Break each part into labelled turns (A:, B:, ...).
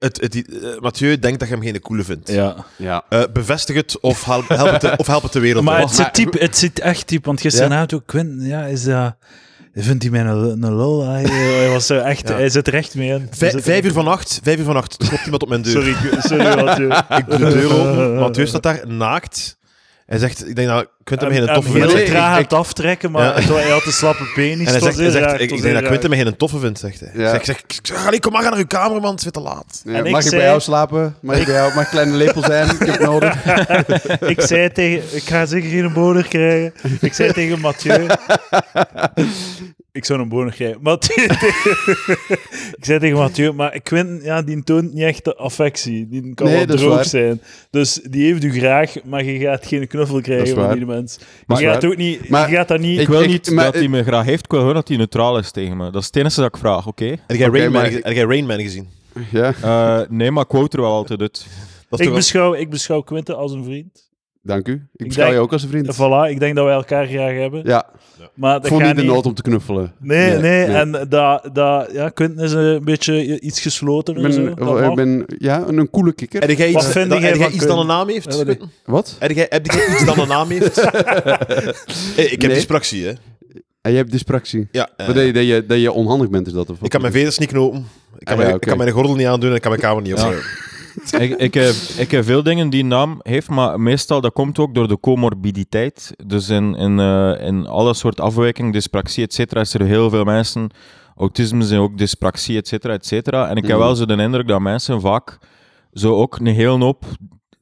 A: het, het, eh, Mathieu denkt dat je hem geen coole vindt.
B: Ja.
C: Ja.
A: Eh, bevestig het of help, help, het, de- of help het de wereld.
B: Maar
A: op.
B: het zit, diep, het zit echt diep, want gisteravond ook Quint, ja, is dat... Vindt hij mij een, een lol? Hij, eh, hij was zo echt,
A: Ja.
B: hij zit er echt mee in. Hij
A: Vij-
B: zit er-
A: vijf uur van acht, vijf uur van acht, er klopt iemand op mijn deur.
B: Sorry, ik- sorry Mathieu.
A: Ik doe de deur open, Mathieu staat daar naakt. Hij zegt, ik denk nou, Quinten mij geen
B: Hij-
A: toffe
B: hij
A: vindt.
B: heel
C: Nee,
B: traag
C: ik-
B: aan het aftrekken, maar
A: Ja.
B: het wa- hij had een slappe penis.
A: En hij
B: Het was
A: zegt, hij
B: heel
A: zegt
B: raar,
A: ik,
B: het
A: ik denk
B: was heel
A: dat
B: raar.
A: Quinten mij geen toffe vindt, zegt hij.
C: Ja.
A: Ik zeg, ik zeg, ik zeg, allee, kom maar naar uw kamer, man, het is weer te laat.
C: Ja,
B: En ik
C: mag ik
B: zei-
C: bij jou slapen? Mag ik, bij jou, mag ik kleine lepel zijn? Ik heb het nodig.
B: Ik zei tegen... Ik ga zeker geen boner krijgen. Ik zei tegen Mathieu... ik zou een boner krijgen. Mathieu... ik zei tegen Mathieu, maar Quint, ja, die toont niet echt de affectie. Die kan
C: Nee,
B: wel
C: dat is
B: droog
C: waar.
B: zijn. Dus die heeft u graag, maar je gaat geen knuffel krijgen van
C: waar.
B: die mens.
C: Maar-
B: je gaat
C: waar.
B: ook niet...
C: Maar-
B: je gaat dat niet...
D: Ik wil
C: ik-
D: niet
C: maar-
D: dat hij me graag heeft, ik wil gewoon dat hij neutraal is tegen me. Dat is het enige dat ik vraag, oké?
A: Heb jij
C: Oké,
A: Rain Man
C: maar-
A: ge- heb jij Rain Man gezien?
C: Ja,
D: Eh, nee, maar ik wou het er wel altijd uit.
A: Dat is
B: Ik
A: toch
B: beschouw, ik beschouw Quinten als een vriend.
C: dank u. Ik beschouw
B: denk-
C: je ook als een vriend.
B: Voilà, ik denk dat wij elkaar graag hebben.
C: Ja,
B: Maar
C: ik
B: dat
C: voel
B: gaat
C: niet de nood om te knuffelen.
B: Nee, nee,
C: nee.
B: en dat, dat, ja, Quinten is een beetje iets gesloten
C: Ik
B: en zo.
C: ben, oh,
B: dat mag.
C: ik ben ja, een, een coole kikker.
A: Heb jij
B: Wat
A: iets,
B: vind
A: dan-
B: jij
A: heb jij
B: van
A: iets dan een
B: Quinten?
A: naam heeft?
B: Ja, wat-
A: Quinten?
C: Wat?
A: Heb jij, heb jij iets dan een naam heeft? Eh, ik heb
C: Nee.
A: dyspraxie, hè.
C: En je hebt dyspraxie.
A: Ja, eh,
C: Maar dat, je, dat, je, dat je onhandig bent, is dat? Of wat?
A: ik kan mijn veders niet knopen. Ik kan,
C: Ah, ja,
A: mijn, ik
C: oké.
A: kan mijn gordel niet aandoen en ik kan mijn kamer niet opruimen.
D: ik, ik, heb, ik heb veel dingen die een naam heeft, maar meestal dat komt ook door de comorbiditeit. Dus in, in, eh, in alle soorten afwijking, dyspraxie, et cetera, is er heel veel mensen... Autisme zijn ook dyspraxie, et cetera, et cetera. En ik heb
C: Mhm.
D: wel zo de indruk dat mensen vaak zo ook een hele hoop...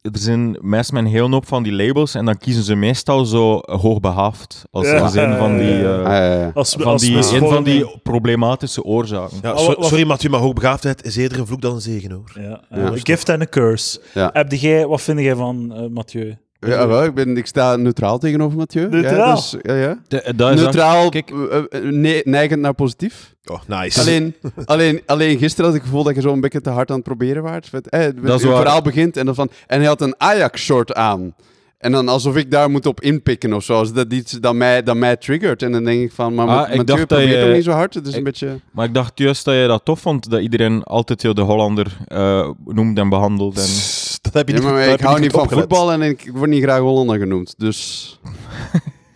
D: Er zijn mensen met een hele hoop van die labels en dan kiezen ze meestal zo hoogbehaafd. Als
B: Ja.
D: als een van die... eh,
C: Ah, ja, ja.
B: als,
D: van
B: als
D: die,
B: een
D: een van
B: schoolmeid.
D: die problematische oorzaken.
A: Ja,
B: Oh,
A: so-
B: wa- wa-
A: sorry, Mathieu, maar hoogbegaafdheid is eerder een vloek dan een zegen, hoor.
B: Ja,
C: Ja.
B: een gift en een curse.
C: Ja.
B: Heb jij, wat vind jij van eh, Mathieu?
C: Ja, wel, ik, ben, ik sta neutraal tegenover Mathieu.
B: Neutraal?
C: Ja, dus, ja, ja.
D: dat is
C: Neutraal,
D: kijk-
C: eh, eh, ne- neigend naar positief.
A: Oh,
D: Dus
A: nice.
C: Alleen, alleen, alleen gisteren had ik het gevoel dat je zo'n beetje te hard aan het proberen waart. Met, eh, met
D: Dat is
C: uw
D: waar.
C: verhaal begint en dan van... En hij had een Ajax-short aan. En dan alsof ik daar moet op inpikken of zo. Als dat iets dat mij, dat mij triggert. En dan denk ik van... Maar
D: Ah,
C: Ma-
D: ik
C: Mathieu
D: dacht dat
C: probeert
D: je-
C: ook niet zo hard. Het is een
D: ik-
C: beetje...
D: Maar ik dacht juist dat je dat tof vond, dat iedereen altijd heel de Hollander eh, noemt en behandelt. En...
A: Psst, dat heb je
C: Ja,
A: niet
C: maar
A: goed- dat heb
C: ik
A: je
C: hou
A: niet
C: niet
A: goed
C: van
A: opgelet.
C: voetbal en ik word niet graag Hollander genoemd. Dus...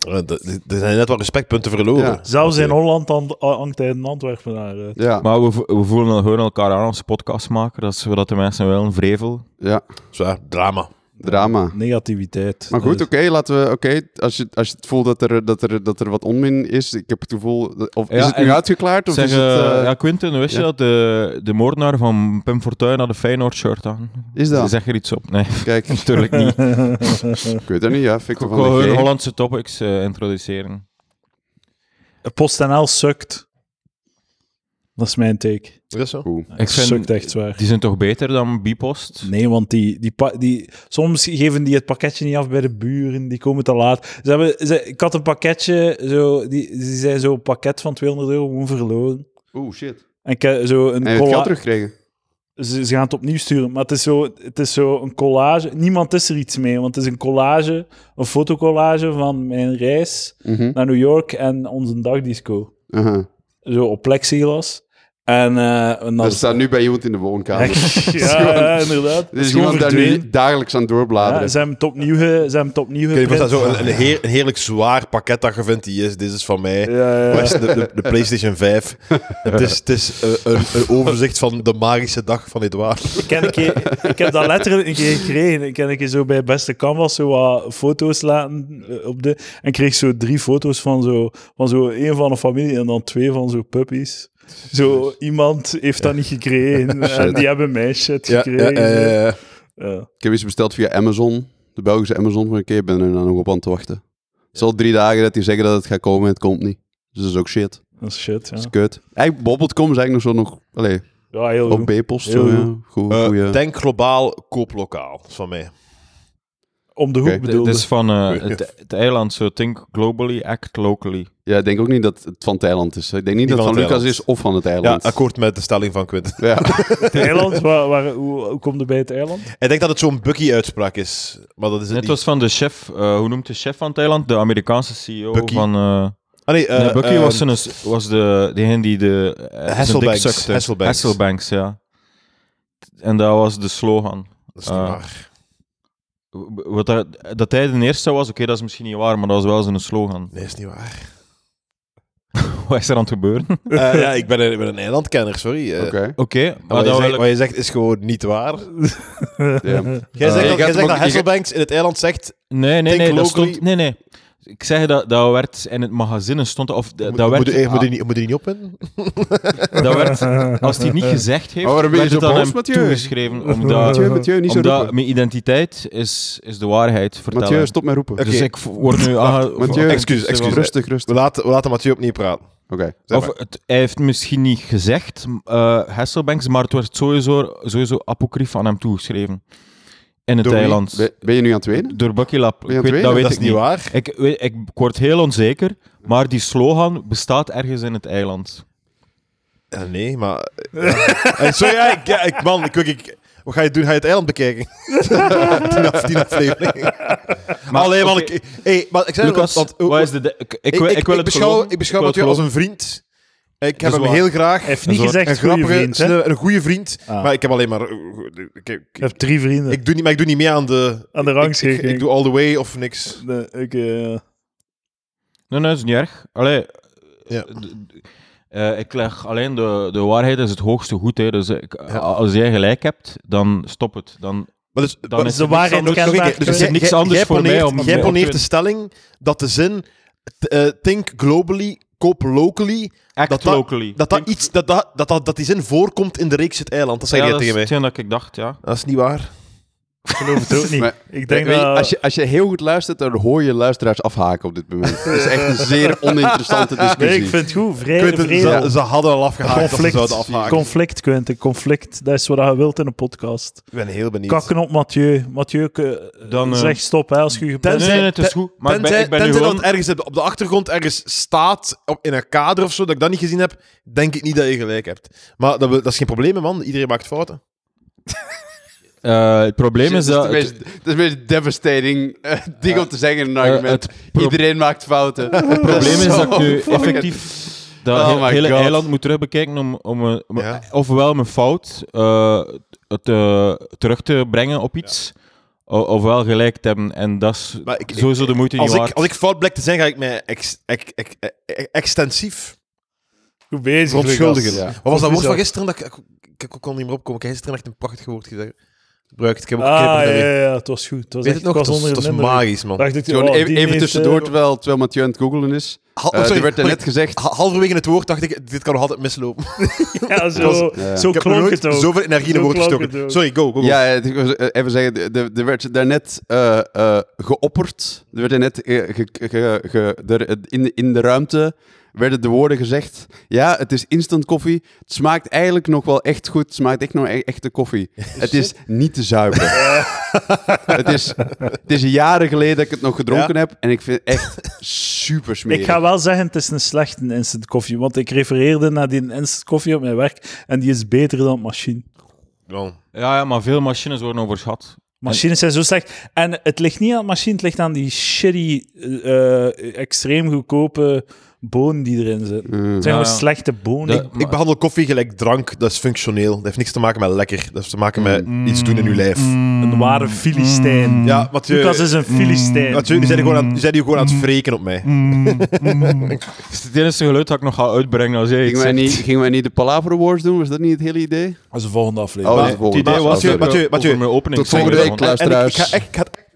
A: Eh, d- d- Er zijn net wat respectpunten verloren.
C: Ja.
B: Zelfs in Holland hand- hangt hij een Antwerpenaar. eh.
C: Ja,
D: Maar we, vo- we voelen gewoon elkaar aan als podcastmaker, dat is wat de mensen willen, vrevel.
C: ja.
A: Zwaar, drama.
C: Drama.
B: Negativiteit.
C: Maar goed,
D: Eh.
B: Dus-
C: oké, laten we. Oké, als, je, als je het voelt dat er, dat, er, dat er wat onmin is, ik heb het gevoel. dat- Of
D: Ja,
C: is het nu
D: en-
C: uitgeklaard? Of
D: Zeg,
C: is het,
D: eh,
C: eh,
D: ja, Quinten, wist je
C: ja.
D: dat de, de moordenaar van Pim Fortuyn had een Feyenoord-shirt aan?
C: Is dat?
D: Zeg er iets op? Nee,
C: Kijk,
D: natuurlijk niet. Ik
C: ik weet het niet, ja. Victor
D: wil
C: van
D: gewoon
C: de G.
D: Hollandse topics eh, introduceren.
B: PostNL sukt. Dat is mijn take.
A: Is dat zo?
C: Goed.
D: Ik vind-
B: Sukt echt zwaar.
D: Die zijn toch beter dan Bipost?
B: Nee, want die, die, pa- die, soms geven die het pakketje niet af bij de buren, die komen te laat. Ze hebben, ze, ik had een pakketje, zo, die, ze zijn zo'n pakket van 200 euro gewoon verloren.
C: Oeh, shit.
B: En ik heb zo een
C: En je hebt
B: colla-
C: geld teruggekregen.
B: ze, ze gaan het opnieuw sturen, maar het is, zo, het is zo een collage. Niemand is er iets mee, want het is een collage, een fotocollage van mijn reis
C: Mhm.
B: naar New York en onze dagdisco.
C: Aha.
B: Zo op plexiglas. En, eh en dan-
C: Dat staat nu bij iemand in de woonkamer.
B: ja, ja, inderdaad.
C: Er is
B: Gewoon
C: iemand daar
B: verdwenen.
C: nu dagelijks aan
B: Ja,
C: doorbladeren.
B: ze hebben het opnieuw, ge- ze hebben het opnieuw
A: Kun je je
B: geprint.
A: voorstellen, zo een, een, heer- een heerlijk zwaar pakket dat je vindt, die is, dit is van mij.
B: Ja, ja,
A: Waar
B: ja.
A: is De, de, de PlayStation 5. het is, het is eh, een, een overzicht van de magische dag van Edouard.
B: Ik, heb een keer- ik heb dat letterlijk een keer gekregen. Ik heb een keer zo bij Beste Canvas zo wat foto's laten eh, op de... En kreeg zo drie foto's van zo, van zo één van een familie en dan twee van zo puppies. Zo, iemand heeft dat niet gekregen. En die hebben mijn shit gekregen. zo.
A: eh,
B: Ja.
C: Ik heb iets besteld via Amazon, de Belgische Amazon van een keer. Ik ben er nou nog op aan te wachten. Het is al drie dagen dat die zeggen dat het gaat komen en het komt niet. Dus dat is ook shit.
B: Dat is shit, ja.
C: Dat is kut. Eigenlijk, Bobbelt.com is eigenlijk nog zo nog... Allee,
B: Ja, heel
C: op
B: goed.
C: B-post.
B: Heel
C: zo, ja.
B: goed.
C: Goeie-
A: eh,
C: goeie-
A: denk globaal, koop lokaal. Dat is van mij.
B: Om de hoek
C: Oké, dit
B: bedoelde.
D: Dit is van eh, het, het eiland, zo think globally, act locally.
C: Ja, ik denk ook niet dat het van het eiland is. Ik denk niet
A: Niet
C: dat het
A: van
C: van
A: het
C: Lucas
A: eiland.
C: is of van het
A: Ja,
C: eiland.
A: akkoord met de stelling van Quint.
C: Ja.
B: Het eiland, waar, waar, hoe, hoe komt het bij het eiland?
A: Ik denk dat het zo'n Bucky-uitspraak is. Maar dat is het
D: Dit
A: niet.
D: was van de chef, eh, hoe noemt de chef van Thailand? De Amerikaanse CEO
A: Bucky.
D: van... eh,
A: Ah, nee, eh,
D: nee, Bucky
A: eh,
D: was, een, was de, degene die de... eh, zijn dik
A: Hasselbanks,
D: sukte.
A: Hasselbanks.
D: Hasselbanks, ja. En dat was de slogan.
A: Dat is niet
D: Ah.
A: waar.
D: W- Wat dat, dat hij de eerste was, oké, dat is misschien niet waar, maar dat was wel zijn slogan.
A: Nee, dat is niet waar.
D: Wat is er aan het gebeuren? Oké,
A: Eh, ja, ik ben een, ik ben een eilandkenner, sorry. Eh,
C: Oké.
D: maar
A: Wat, je
D: dat wil
A: zegt,
D: ik-
A: wat je zegt is gewoon niet waar.
C: ja.
A: Jij
D: Eh,
A: zegt,
C: Je
A: dat,
C: gaat
A: jij
C: hem
A: zegt
C: ook-
A: dat
C: je gaat-
A: Hasselbanks in het eiland zegt...
D: Nee, nee,
A: Think
D: nee, dat
A: locally.
D: stond... Nee, nee. Ik zeg dat, dat werd in het magazine stond, of dat,
A: Moet,
D: Eh, dat
A: moet,
D: werd... ah,
A: je- moet, je niet- moet je niet op in?
D: Dat werd, als hij het niet gezegd heeft,
A: Oh,
C: Maar waarom ben je
D: werd
C: zo
D: het aan
C: boos,
D: hem
C: Mathieu?
D: toegeschreven.
C: Mathieu,
D: Omdat,
C: Mathieu, niet zo
D: omdat
C: roepen.
D: mijn identiteit is, is de waarheid vertellen.
C: Mathieu, stop met roepen.
A: Oké.
D: Dus ik word nu... aange- eh,
C: Mathieu,
A: Excuus, excuus.
C: Rustig, rustig.
A: We laten, we laten Mathieu opnieuw praten.
C: Oké.
A: Zeg
D: Of
A: maar.
D: het, hij heeft misschien niet gezegd, eh Hasselbanks, maar het werd sowieso, sowieso apocrief aan hem toegeschreven. In het
A: Door wie?
D: eiland.
C: Ben- Ben je nu aan het wenen?
D: Door Bucky Lap.
C: je aan
D: Ik
C: het
D: weet,
C: wenen?
D: dat weet
A: dat
D: ik
A: is niet
D: niet.
A: waar.
D: Ik, weet- ik, ik word heel onzeker, maar die slogan bestaat ergens in het eiland.
A: Ja, nee, maar... Eh, sorry, ja, ik, ja, ik- man, ik, ik, ik- Wat ga je doen? Ga je het eiland bekijken? die, af, die aflevering. Alleen, man,
D: oké,
A: ik... Hey, maar ik zei het,
D: Lucas,
A: want- want-
D: wat is de... de- Ik, ik,
A: Ik,
D: wil-
A: ik,
D: ik wil
A: ik
D: het
A: beschouw,
D: geloven.
A: ik beschouw
D: wil
A: Mathieu
D: het
A: als een vriend. Ik heb
D: is
A: hem
D: waar.
A: heel graag.
B: Hij heeft niet
D: Een soort-
A: Een
B: gezegd goede
A: grappige,
B: vriend, hè?
A: een,
B: Hij
A: een goede vriend.
B: Ah.
A: Maar ik heb alleen maar. Ik, ik- ik-
B: heeft drie vrienden
A: ik doe niet, maar ik doe niet mee aan de.
B: aan de
A: Ik, ik,
B: rangschikking.
A: ik doe all the way of niks.
B: Nee, ik, eh,
D: Nee, nee, dat is niet erg. Allee,
A: Ja.
D: d- d- eh, ik leg alleen de, de waarheid is het hoogste goed. Hè. Dus ik-
A: Ja.
D: als jij gelijk hebt, dan stop het. Dan,
A: Maar dus,
D: dan
B: is de waarheid
D: niks anders-
A: nog een
B: kenbaar.
A: keer, dus
B: Er is
A: jij-
D: niks
A: jij-
D: anders
A: jij
D: voor mij
A: poneert-
D: om-
A: Jij
D: om-
A: poneert
D: om-
A: de stelling dat de zin. t- eh, think globally, koop locally.
D: Act
A: dat dat-
D: locally.
A: Dat, dat, iets, dat, dat, dat, dat, dat die zin voorkomt in de reeks Het Eiland. Dat zei
D: ja,
A: jij
D: dat is
A: tegen mij.
D: hetgeen dat ik dacht, ja.
A: Dat is niet waar.
B: ik geloof het ook niet.
C: Maar-
B: ik denk
C: Weet je,
B: dat...
C: Eh, als, je, als je heel goed luistert, dan hoor je luisteraars afhaken op dit moment. Het is echt een zeer oninteressante discussie.
B: nee, ik vind het goed.
A: Ik
B: Vrij,
A: weet het,
B: vrede.
A: ze, ze hadden al afgehaakt dat ze
B: Conflict.
A: zouden afhaken.
B: Conflict, Quentin. Conflict. Dat is wat je wilt in een podcast.
A: Ik ben heel benieuwd.
B: Kakken op Mathieu. Mathieu, eh,
D: Dan, eh,
B: zeg stop hè, als je je
D: Nee, nee, nee, het is
A: ten-
D: goed. Maar ik ben,
A: tenzij
D: ik ben nu
A: tenzij
D: wel...
A: dat het ergens op- op de achtergrond ergens staat, op, in een kader of zo, dat ik dat niet gezien heb, denk ik niet dat je gelijk hebt. Maar dat, we- dat is geen probleem, hè, man. Iedereen maakt fouten.
D: Eh, het eh, probleem
C: Shit,
D: is dat...
C: de meest, dat is de meest devastating eh, ding om te zeggen in een argument.
D: Eh, het pro-
C: Iedereen maakt fouten.
D: Het probleem is dat ik nu effectief dat
C: Oh
D: he-
C: my
D: hele
C: God.
D: eiland moet terugbekijken om, om, een- om-
A: Ja.
D: ofwel mijn fout eh, te- terug te brengen op iets, o- ofwel gelijk te hebben. En dat is
A: Maar ik- ik-
D: sowieso de moeite
A: Als
D: niet
A: ik,
D: waard.
A: als ik fout blijk te zijn, ga ik mij ex, ex- ex- ex- extensief
B: Goed bezig.
A: verontschuldigen.
B: Lucas.
C: Ja.
A: Wat was dat woord
B: Bizar.
A: van gisteren? Dat ik, ik, ik kon niet meer opkomen. Ik heb gisteren echt een prachtig woord gezegd. gebruikt. Ik heb ook
B: Ah, ja,
A: geknipperd
B: ja,
A: daarin.
B: ja, het was goed. Het was
A: Weet
B: echt,
A: het nog?
B: ik
A: Het
B: was
A: was,
B: onder
A: het was
B: de indruk.
A: magisch, man.
B: Dacht ik,
C: Gewoon
B: oh,
C: even,
B: die
C: even
B: heeft,
C: tussendoor,
B: eh, Oh,
C: terwijl, terwijl Mathieu aan het googelen is.
A: Ha-
C: Eh,
A: sorry,
C: er werd er
A: sorry.
C: net gezegd...
A: Ha- Halverwege het woord dacht ik, dit kan nog altijd mislopen.
B: Ja, zo,
A: was-
C: Ja.
B: zo
A: ik heb nog
B: klonk
A: nooit
B: het ook.
A: zoveel energie in
B: Zo
A: een woord
B: klonk het
A: gestoken.
B: ook.
A: Sorry, go, go, go.
C: Ja, het- ik wil even zeggen, de- de- er werd daarnet eh eh geopperd. Er werd daarnet eh, ge- ge- ge- er- in, de- in de ruimte werden de woorden gezegd. Ja, het is instant koffie. Het smaakt eigenlijk nog wel echt goed. Het smaakt echt nog e- echte koffie. Het is niet te zuipen. het, is, het is jaren geleden dat ik het nog gedronken
A: Ja.
C: heb. En ik vind het echt super smerig.
B: Ik ga wel zeggen, het is een slechte instant koffie. Want ik refereerde naar die instant koffie op mijn werk. En die is beter dan machine.
A: Man.
D: Ja, ja, maar veel machines worden overschat.
B: Machines zijn zo slecht. En het ligt niet aan de machine, het ligt aan die shitty, eh, eh, extreem goedkope bonen die erin zitten. Het zijn
D: Ja,
B: gewoon
D: ja.
B: slechte bonen.
D: De-
B: Ik-
D: Eh, maar-
A: Ik behandel koffie gelijk drank, dat is functioneel. Dat heeft niks te maken met lekker. Dat heeft te maken met iets doen in uw lijf.
D: Mm.
B: een ware filistijn.
A: Mm. Ja, Mm. Mathieu,
B: Lucas is een filistijn.
A: Mathieu, nu zijn jullie gewoon aan- nu zijn jullie gewoon
D: Mm.
A: aan het wreken op mij.
D: Het is het enige geluid dat ik nog ga uitbrengen als jij iets
C: Gingen wij,
D: zegt.
C: niet, gingen wij niet de Palaver Awards doen? Was dat niet het hele idee?
B: Dat is de volgende
C: Oh,
B: aflevering.
C: dat
A: het
C: is
D: Het
C: volgende
D: idee
A: Maar-
D: was
A: Mathieu,
D: dat ik,
A: Mathieu,
D: eh,
A: Mathieu,
D: over mijn opening
C: Tot volgende
D: zei,
C: week,
D: want-
A: En ik, ik
C: luisteraars.
A: ga echt... ik ga het-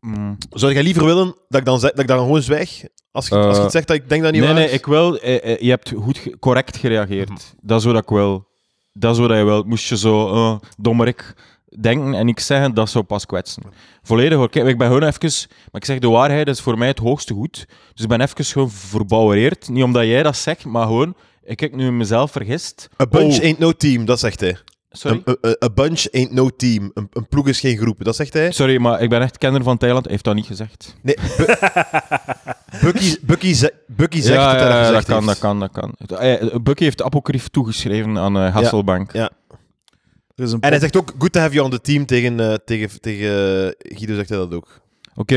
D: Mm.
A: Zou jij liever willen dat ik dan, zeg, dat ik dan gewoon zwijg? Als je, als je
D: Eh,
A: iets zegt dat ik denk dat niet
D: Nee,
A: waar
D: nee,
A: is?
D: ik wil. eh, eh, je hebt goed ge- correct gereageerd.
C: Mhm.
D: Dat is wat ik wil. Dat is wat je wil. Moest je zo eh dommerik denken en ik zeggen, dat zou pas kwetsen. Volledig hoor. Kijk, ik ben gewoon even. Maar ik zeg, de waarheid is voor mij het hoogste goed. Dus ik ben even gewoon verbouwereerd. Niet omdat jij dat zegt, maar gewoon. Ik heb nu mezelf vergist.
A: A bunch
D: Oh,
A: ain't no team, dat zegt hij.
D: sorry.
A: Een- een- a bunch ain't no team. Een, een ploeg is geen groep, dat zegt hij.
D: Sorry, maar ik ben echt kenner van Thailand. Hij heeft dat niet gezegd.
A: Nee, Bu- Bucky, Bucky, ze- Bucky zegt dat hij dat
D: dat
A: gezegd
D: kan, dat
A: heeft.
D: kan, dat kan. Eh, Bucky heeft apocrief toegeschreven aan eh, Hasselbank.
A: Ja.
B: Er is een
A: En hij zegt ook, good to have you on the team tegen, eh, tegen, tegen eh, Guido zegt hij dat ook.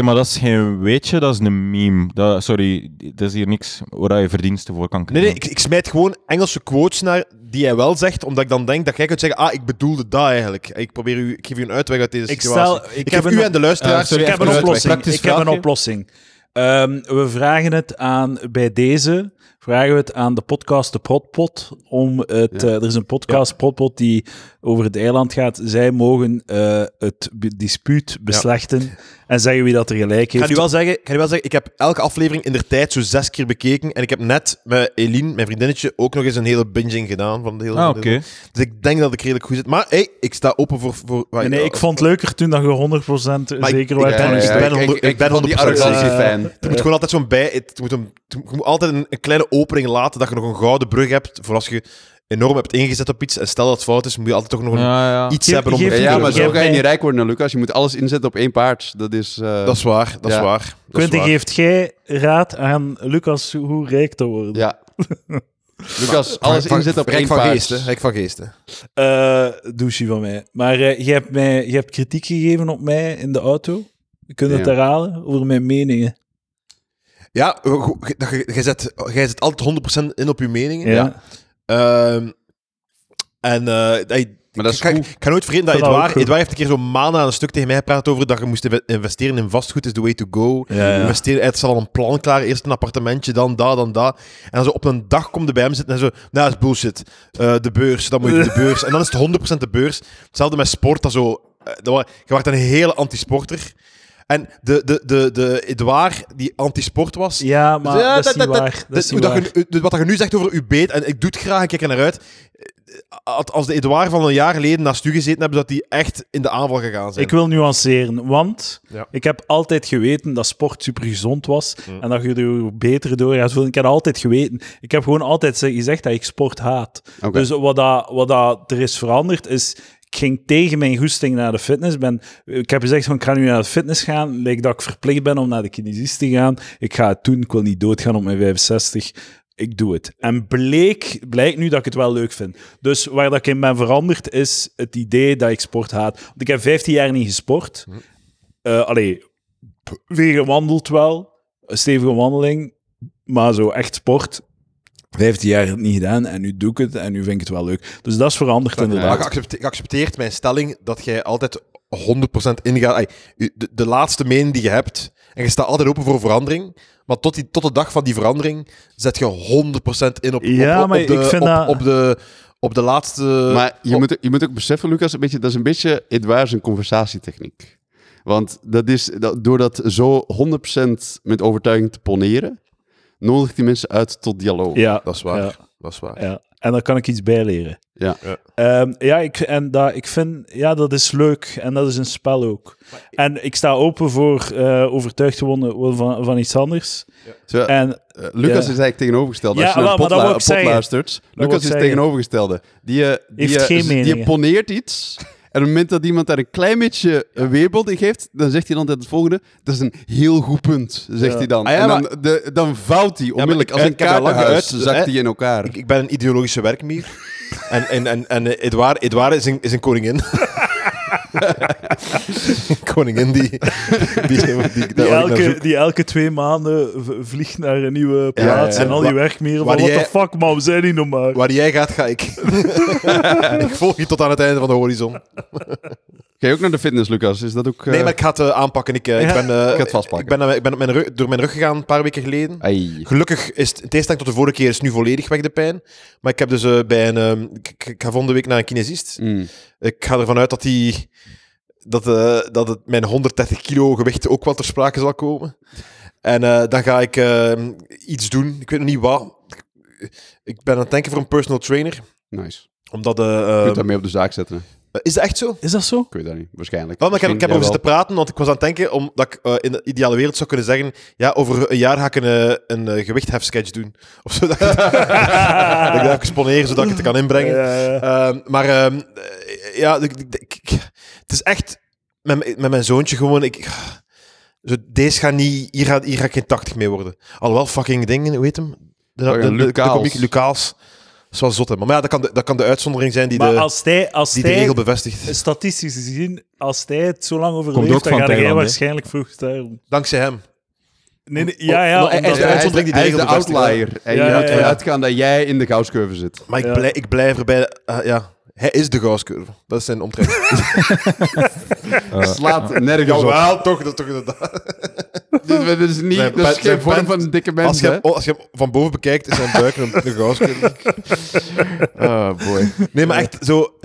D: maar dat is geen weetje, dat is een meme. Dat, sorry, dat is hier niks waar je verdiensten voor kan
A: Nee,
D: krijgen.
A: nee, ik, ik smijt gewoon Engelse quotes naar die jij wel zegt, omdat ik dan denk dat jij kunt zeggen, ah, ik bedoelde dat eigenlijk. Ik, probeer u, ik geef u een uitweg uit deze
B: Ik
A: situatie.
B: stel- ik
A: ik
B: heb
A: geef
B: een-
A: u en de luisteraars...
D: Eh, sorry,
B: Ik heb
D: even
B: een
D: een
B: oplossing.
D: praktisch
B: Ik heb een
D: vraagje.
B: oplossing. Ehm, we vragen het aan, bij deze, vragen we het aan de podcast De Protpot. Om het, eh, er is een podcast, Protpot, die over het eiland gaat. Zij mogen eh, het be- dispuut beslechten en zeggen wie dat er gelijk
A: Ik
B: heeft.
A: ga, nu wel zeggen, ik ga nu wel zeggen, ik heb elke aflevering in de tijd zo zes keer bekeken. En ik heb net met Eline, mijn vriendinnetje, ook nog eens een hele binging gedaan. Van de hele
D: Ah, oké.
A: Dus ik denk dat ik redelijk goed zit. Maar hey, ik sta open voor... voor
B: Nee, nee, ik vond het leuker toen dat je 100%
A: Maar ik-
B: zeker
A: ik
B: werd
A: ben-
B: van je
A: ik
B: stem.
A: ben honderd- ik ben Eh,
C: van die
A: 100%
C: arrogantie-fan.
A: Je moet gewoon altijd zo'n bij... Het, je moet hem, je moet altijd een, een kleine opening laten dat je nog een gouden brug hebt. Voor als je enorm hebt ingezet op iets. En stel dat het fout is, moet je altijd toch nog een,
D: Ja, ja.
A: iets
B: Geef-
A: hebben om...
B: geef-
C: Ja,
A: te
C: ja, maar
A: kunnen.
C: zo
B: Geef
C: ga je
B: mij-
C: niet rijk worden, Lucas. Je moet alles inzetten op één paard. Dat is... eh,
A: Dat is waar, dat
C: Ja.
A: is waar. dat is
B: Quentin,
A: waar.
B: geeft jij raad aan Lucas hoe rijk te worden?
C: Ja. Lucas, alles
A: Van-
C: inzetten op
A: Rijk
C: één
A: van
C: paard.
A: geesten, Rijk van geesten.
B: eh douche van mij. Maar eh, je, hebt mij, je hebt kritiek gegeven op mij in de auto. Je kunt het
C: Ja.
B: herhalen over mijn meningen.
A: Ja, go- ge- dat ge- jij zet, jij zet altijd 100% in op je meningen.
B: Ja.
A: Ehm, en eh, dat je-
C: Maar dat is
A: ik, ga,
C: goed.
A: ik ga nooit vergeten dat
B: Dat is ook
A: Edouard,
B: goed.
A: Edouard heeft een keer zo'n maand aan een stuk tegen mij gepraat over dat je moest inve- investeren in vastgoed is the way to go.
B: Ja, ja.
A: Investeren, het is al een plan klaar. Eerst een appartementje, dan dat, dan dat. En dan zo op een dag komt er bij hem zitten en zo, nou, dat is bullshit. Eh, de beurs, dan moet je de beurs. En dan is het 100% de beurs. Hetzelfde met sport, dat zo... eh, dat wa- je werd een hele antisporter. En de, de, de, de Edouard, die antisport was,
B: Ja, maar
A: ja,
B: dat, is niet waar. Dat, is
A: dat-
B: niet
A: dat
B: waar.
A: je nu- dat- Wat je nu zegt over uw beet, en ik doe het graag, ik kijk er naar uit. Eh, Als de Edouard van een jaar geleden naast u gezeten hebben, dat die echt in de aanval gegaan zijn.
B: Ik wil nuanceren, want
A: Ja.
B: ik heb altijd geweten dat sport super gezond was en dat je er beter door gaat voelen. Ik heb altijd geweten. Ik heb gewoon altijd ze- gezegd dat ik sport haat.
C: Oké.
B: Dus wat, dat, wat dat er is veranderd is. Ik ging tegen mijn goesting naar de fitness. Ben, ik heb gezegd: van, Ik ga nu naar de fitness gaan. Lijkt dat ik verplicht ben om naar de kinesist te gaan. Ik ga het doen. Ik wil niet doodgaan op mijn 65. Ik doe het. En bleek, blijkt nu dat ik het wel leuk vind. Dus waar dat ik in ben veranderd is het idee dat ik sport haat. Want ik heb 15 jaar niet gesport.
A: Hm.
B: Eh, allee, p- weer gewandeld wel. Een stevige wandeling. Maar zo echt sport. 15 jaar niet gedaan en nu doe ik het en nu vind ik het wel leuk. Dus dat is veranderd
A: Maar
B: inderdaad.
A: je accepte- je accepteert mijn stelling dat jij altijd 100% ingaat. ai, u- De, de laatste mening die je hebt. En je staat altijd open voor verandering. Maar tot, die, tot de dag van die verandering zet je 100% in op, op-
B: Ja,
A: op, op,
B: maar
A: de,
B: ik vind
A: op,
B: dat-
A: op de, op de laatste.
C: Maar je,
A: op-
C: moet, je moet ook beseffen, Lucas, een beetje, dat is een beetje Edouard zijn conversatietechniek. Want dat is, dat, door dat zo 100% met overtuiging te poneren, nodigt die mensen uit tot dialoog.
B: ja,
A: Dat is waar.
B: Ja,
A: Dat is waar.
B: ja. En daar kan ik iets bij leren.
C: Ja.
A: Ja.
B: Ehm, ja, ik, en dat, ik vind, ja, dat is leuk en dat is een spel ook. En ik sta open voor eh, overtuigd te worden van, van iets anders.
C: Zo,
B: En
C: Eh, Lucas is eigenlijk tegenovergesteld.
B: Ja,
C: Als je
B: wel,
C: naar een
B: maar dat
C: potla-
B: wou ik zeggen.
C: potluistert,
B: wou ik
C: Lucas is
B: zeggen.
C: tegenovergestelde. Die, eh, die,
B: Heeft
C: eh,
B: geen
C: z- die
B: meningen.
C: poneert iets. En op het moment dat iemand daar een klein beetje een weerbeeld in geeft, dan zegt hij dan altijd het volgende. Dat is een heel goed punt, zegt
B: Ja.
C: hij dan.
A: Ah, ja,
C: en dan, de, dan vouwt hij onmiddellijk.
A: ik-
C: Als een
A: ik heb dat lang
C: kaartenhuis
A: geuit,
C: zakt
A: hè?
C: hij in elkaar.
A: Ik, ik ben een ideologische werkmier. en en, en, en eh, Edouard, Edouard is, een, is een koningin. koningin die... die, die, die- waar ik
B: die
A: naar
B: elke,
A: zoek.
B: die elke twee maanden v- vliegt naar een nieuwe
C: Ja,
B: plaats
C: ja, ja.
B: en al die
A: Wa-
B: werkmeren
A: waar
B: van, what the
A: jij-
B: fuck man, we zijn die nog maar.
A: Waar jij gaat, ga ik. ik volg je tot aan het einde van de horizon.
C: Ga je ook naar de fitness, Lucas? Is dat ook... eh,
A: Nee, maar ik ga het eh, aanpakken. Ik, eh,
B: Ja.
A: ik ben, eh,
C: Ik ga het vastpakken.
A: Ik ben, eh, ik ben op mijn rug- door mijn rug gegaan een paar weken geleden.
C: ai.
A: Gelukkig is het, in tegenstelling tot de vorige keer, is het nu volledig weg de pijn. Maar ik heb dus eh, bij een... ehm, ik- ik, ik ga volgende week naar een kinesist.
C: Mm.
A: Ik ga ervan uit dat, die, dat, eh, dat het mijn 130 kilo gewicht ook wel ter sprake zal komen. En eh, dan ga ik eh, iets doen. Ik weet nog niet wat. Ik ben aan het denken voor een personal trainer.
C: Nice.
A: Omdat de...
C: Je
B: Ehm,
C: kunt dat mee op de zaak zetten. hè?
A: is dat echt zo?
B: Is dat zo?
C: Ik weet dat niet. Waarschijnlijk.
A: Wel, Oh, maar ik heb, ik heb erover zitten
C: Misschien,
A: praten, want ik was aan het denken omdat ik eh, in de ideale wereld zou kunnen zeggen ja, over een jaar ga ik een, eh, een eh, gewichthefsketch doen. Of zo. Dat, ik- dat ik dat even sponeer, zodat ik het kan inbrengen.
B: Ja, ja.
A: Ehm, maar ehm, eh, ja, ik- ik- ik- ik- het is echt met, mijn- met mijn zoontje gewoon. Ik, zo, deze gaat niet, hier ga, hier ga ik geen 80 mee worden. Alhoewel fucking dingen, hoe heet hem? De,
C: Oh ja, Lucaals.
A: komiek Lucaals. is wel zot, hè. Maar ja, dat kan de, dat kan de uitzondering zijn die,
B: maar
A: de,
B: als hij, als
A: die de
B: hij
A: regel bevestigt.
B: statistisch gezien, als hij het zo lang overleeft,
D: ook
B: dan
D: van
B: ga jij
D: Thailand, hè?
B: waarschijnlijk vroeg daarom.
A: Dankzij hem.
B: Nee, nee, ja, ja,
A: Oh, nou, hij-
B: omdat
A: hij-
B: hij-
A: hij- uitzondering die de
C: hij is de
A: regel bevestigt,
C: outlier. En
B: Ja,
C: je
B: ja,
C: moet
B: ja.
C: ervan uitgaan dat jij in de gauwscurve zit.
A: Maar ik,
B: Ja.
A: blijf, ik blijf erbij. eh, ja, hij is de gauscurve. Dat is zijn omtrek.
C: Slaat nergens op.
A: Jawel, toch. Dat, toch inderdaad.
C: Dit dit is niet...
A: Zijn
C: Dat is
A: pen- zijn
C: geen vorm
A: pen-
C: van een dikke
A: Als
C: mens,
A: je,
C: hè?
A: hem, oh, als je hem van boven bekijkt, is zijn buik een, een gauscurve.
C: Oh, boy.
A: Nee, maar echt zo...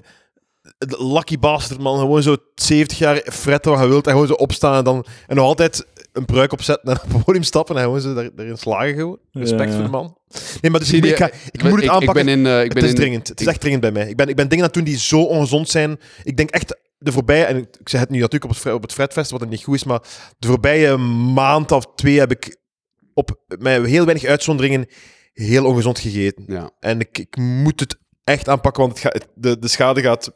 A: de Lucky bastard, man. Gewoon zo 70 jaar fretten wat je wilt. En gewoon zo opstaan en dan... En nog altijd een pruik opzetten en op het podium stappen. En gewoon zo daar, daarin slagen gewoon. Respect
B: Ja.
A: voor de man. Nee, maar dus
C: Zie
A: ik,
C: je-
A: ik, ga- ik moet het aanpakken.
C: Ik ben in... eh, ik ben
A: het is
C: in-
A: dringend. Het is echt dringend bij mij. Ik ben, ik ben dingen aan het doen die zo ongezond zijn. Ik denk echt de voorbije, en ik ik zeg het nu natuurlijk op het, Fre- op het Fredfest, wat het niet goed is, maar de voorbije maand of twee heb ik op met heel weinig uitzonderingen heel ongezond gegeten.
C: Ja.
A: En ik, ik moet het echt aanpakken, want het ga- het- de, de schade gaat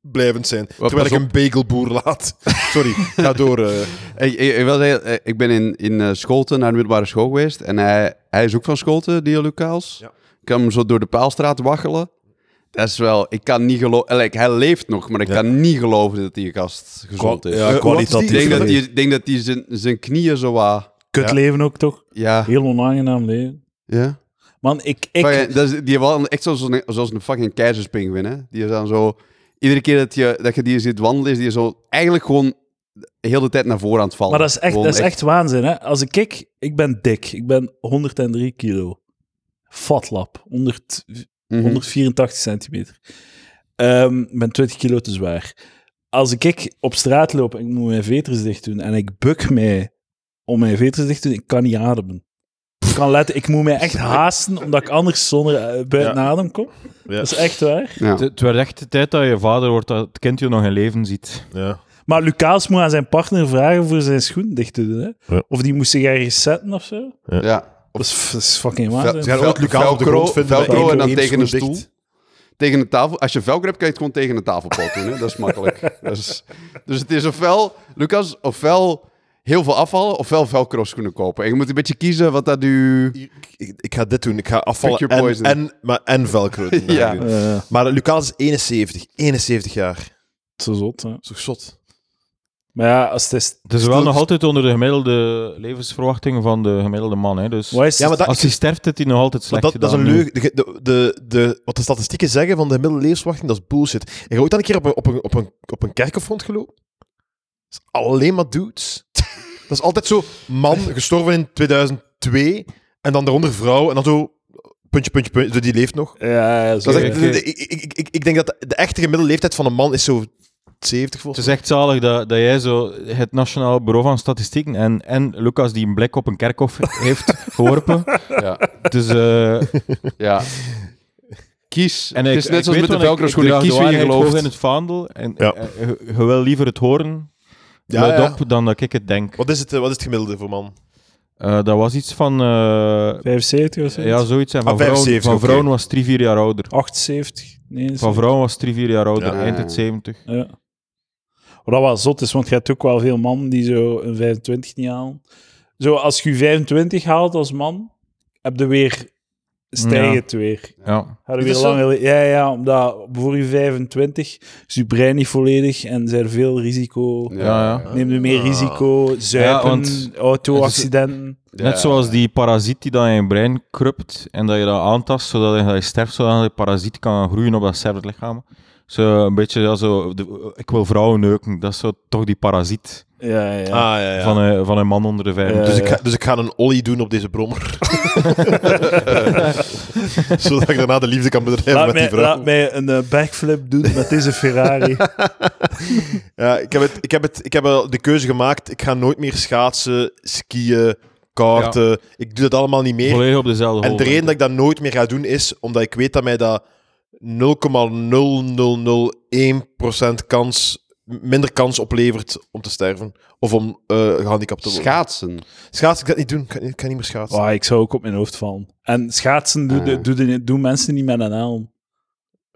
A: blijvend zijn. terwijl
C: pas
A: ik een bagelboer laat. Sorry, ga door. eh.
C: Ik, ik, ik wil zeggen, eh, ik ben in, in eh, Scholten naar de middelbare school geweest. En hij, hij is ook van Scholten, die Lucas.
A: Ja.
C: Ik kan hem zo door de paalstraat waggelen. Dat is wel... Ik kan niet geloven... Like, hij leeft nog, maar ik
D: Ja.
C: kan niet geloven dat die gast gezond is.
A: ja,
C: Eh,
A: kwalitatief
C: Ik denk dat
A: gezond.
C: hij- ik denk dat hij zijn- zijn knieën zo wat...
B: kut leven ook toch?
C: Ja.
B: Heel onaangenaam leven.
C: Ja.
B: Man, ik... ik
C: Fucking- dat is, die hebben wel een- echt zoals een, zoals een fucking keizerspinguïn, hè. Die is dan zo... Iedere keer dat je, dat je die ziet wandelen, is die zo eigenlijk gewoon de hele tijd naar voren aan het vallen.
B: maar dat is echt,
C: Gewoon
B: dat is echt waanzin, hè? Als ik kijk, ik ben dik. Ik ben 103 kilo. Fatlap. 100,
C: Mhm.
B: 184 centimeter. Ehm, Ik ben 20 kilo te zwaar. Als ik- ik op straat loop en ik moet mijn veters dicht doen en ik buk mij om mijn veters dicht te doen, ik kan niet ademen. Ik, kan letten, ik moet mij echt haasten, omdat ik anders zonder eh, buiten adem kom.
A: Ja.
B: Dat is echt waar.
C: Ja.
D: Het, het werd echt de tijd dat je vader wordt, dat het kind je nog in leven ziet.
A: Ja.
B: Maar Lucas moet aan zijn partner vragen voor zijn schoen dicht te doen. Hè?
A: Ja.
B: Of die moest zich ergens zetten of zo.
C: ja.
B: Dat is, dat is fucking
A: Ze
B: waanzin.
A: gaan ooit Lucas op de
C: Velcro-
A: grond vinden. met
C: Velcro
A: één-
C: en dan
A: één
C: tegen
A: schoen
C: een stoel.
A: dicht.
C: Tegen de tafel. Als je velcro hebt, kan je het gewoon tegen de tafelpot doen. Hè? Dat is makkelijk. Dat is- dus het is ofwel, Lucas, ofwel heel veel afvallen, ofwel velcro schoenen kopen. En je moet een beetje kiezen wat dat u...
A: Ik, ik ga dit doen. Ik ga afvallen
C: Pick your
A: en,
C: poison.
A: en, maar, en velcro doen.
C: Ja.
A: Ja.
B: Eh,
A: Maar Lucas is 71. 71 jaar. Dat
B: te zot, hè.
A: is toch zot?
B: Maar ja, als het is...
D: Het
A: Dus
D: is wel nog altijd onder de gemiddelde levensverwachting van de gemiddelde man. Hè. Dus
B: Wat is
A: Ja, maar dat,
D: als hij sterft, heeft hij nog altijd
A: maar
D: slecht
A: dat, dat is een
D: gedaan, hè.
A: leugen. De, de, de, de- wat de statistieken zeggen van de gemiddelde levensverwachting, dat is bullshit. En je ooit dan een keer op een, op een, op een, op een kerkhof rondgelopen? Dat is alleen maar dudes. dat is altijd zo, man, gestorven in 2002, en dan daaronder vrouw, en dan zo, puntje, puntje, puntje, zo, die leeft nog.
B: Ja, ja, zo.
A: Dat is
D: Oké,
A: echt-
D: oké.
A: de- ik, ik, ik, ik denk dat de, de echte gemiddelde leeftijd van een man is zo 70
D: Het
A: volgens
D: is echt zalig dat, dat jij zo het Nationaal Bureau van Statistieken en, en Lucas die een blik op een kerkhof heeft geworpen.
C: Ja.
D: Het is, eh,
C: ja. Kies.
D: en
C: het
D: ik-
C: is
D: ik
C: net zoals
D: weet
C: met de
D: wel, ik-
C: velcro
D: ik
C: schoenen.
D: draag de
C: Kies wie je
D: waarheid
C: gelooft.
D: hoog in het vaandel. En,
A: Ja.
D: eh, je, je wil liever het horen
A: Ja,
D: luid
A: ja.
D: op dan dat ik het denk.
A: Wat is, het, eh, wat is het gemiddelde voor man?
D: Eh, dat was iets van... eh,
B: 75 of zo.
D: ja, zoiets. En van,
A: Ah,
D: vrouwen,
A: 75,
D: van
A: oké.
D: vrouwen was 3, 4 jaar ouder.
B: 78, nee.
D: Van vrouwen was 3, 4 jaar ouder.
A: Ja.
D: Eind het 70.
B: Ja. Wat dat wel zot is, want je hebt ook wel veel mannen die zo een 25 niet halen. Zo, als je je 25 haalt als man, heb je weer... Stijg
D: Ja.
B: het weer.
D: Ja.
B: Ga je
A: Is
B: weer
A: dat zo?
B: langer... le- Ja, ja, omdat voor je 25 is je brein niet volledig en zijn veel risico...
D: Ja, ja.
B: Neem je meer
A: Ah.
B: risico, zuipen,
D: want-
B: auto-accidenten.
D: Net zoals die parasiet die dan in je brein krupt en dat je dat aantast zodat je, dat je sterft, zodat die parasiet kan groeien op dat sterflichaam. Zo een beetje ja, zo, de- ik wil vrouwen neuken, dat is zo toch die parasiet
B: Ja, ja.
A: Ah, ja, ja.
D: van, eh, een, van een man onder de vijf.
B: Ja.
D: Dus
A: Dus ik, ga, dus ik ga een ollie doen op deze brommer. Zodat ik daarna de liefde kan bedrijven
B: laat,
A: met
B: mij,
A: die vrouw.
B: laat mij een eh, backflip doen met deze Ferrari.
A: Ja, ik, heb het, ik, heb het, ik heb wel de keuze gemaakt. Ik ga nooit meer schaatsen, skiën, kaarten. Ik doe dat allemaal niet meer.
D: volledig op dezelfde
A: En de reden dat ik dat nooit meer ga doen is omdat ik weet dat mij dat 0,0001% kans, minder kans oplevert om te sterven. Of om eh, gehandicapt te worden.
C: Schaatsen.
A: Schaatsen, ik ga dat niet doen. Ik kan, ik kan niet meer schaatsen.
B: Oh, ik zou ook op mijn hoofd vallen. En schaatsen doen doen-
C: Ah.
B: doen- doen mensen niet met een helm.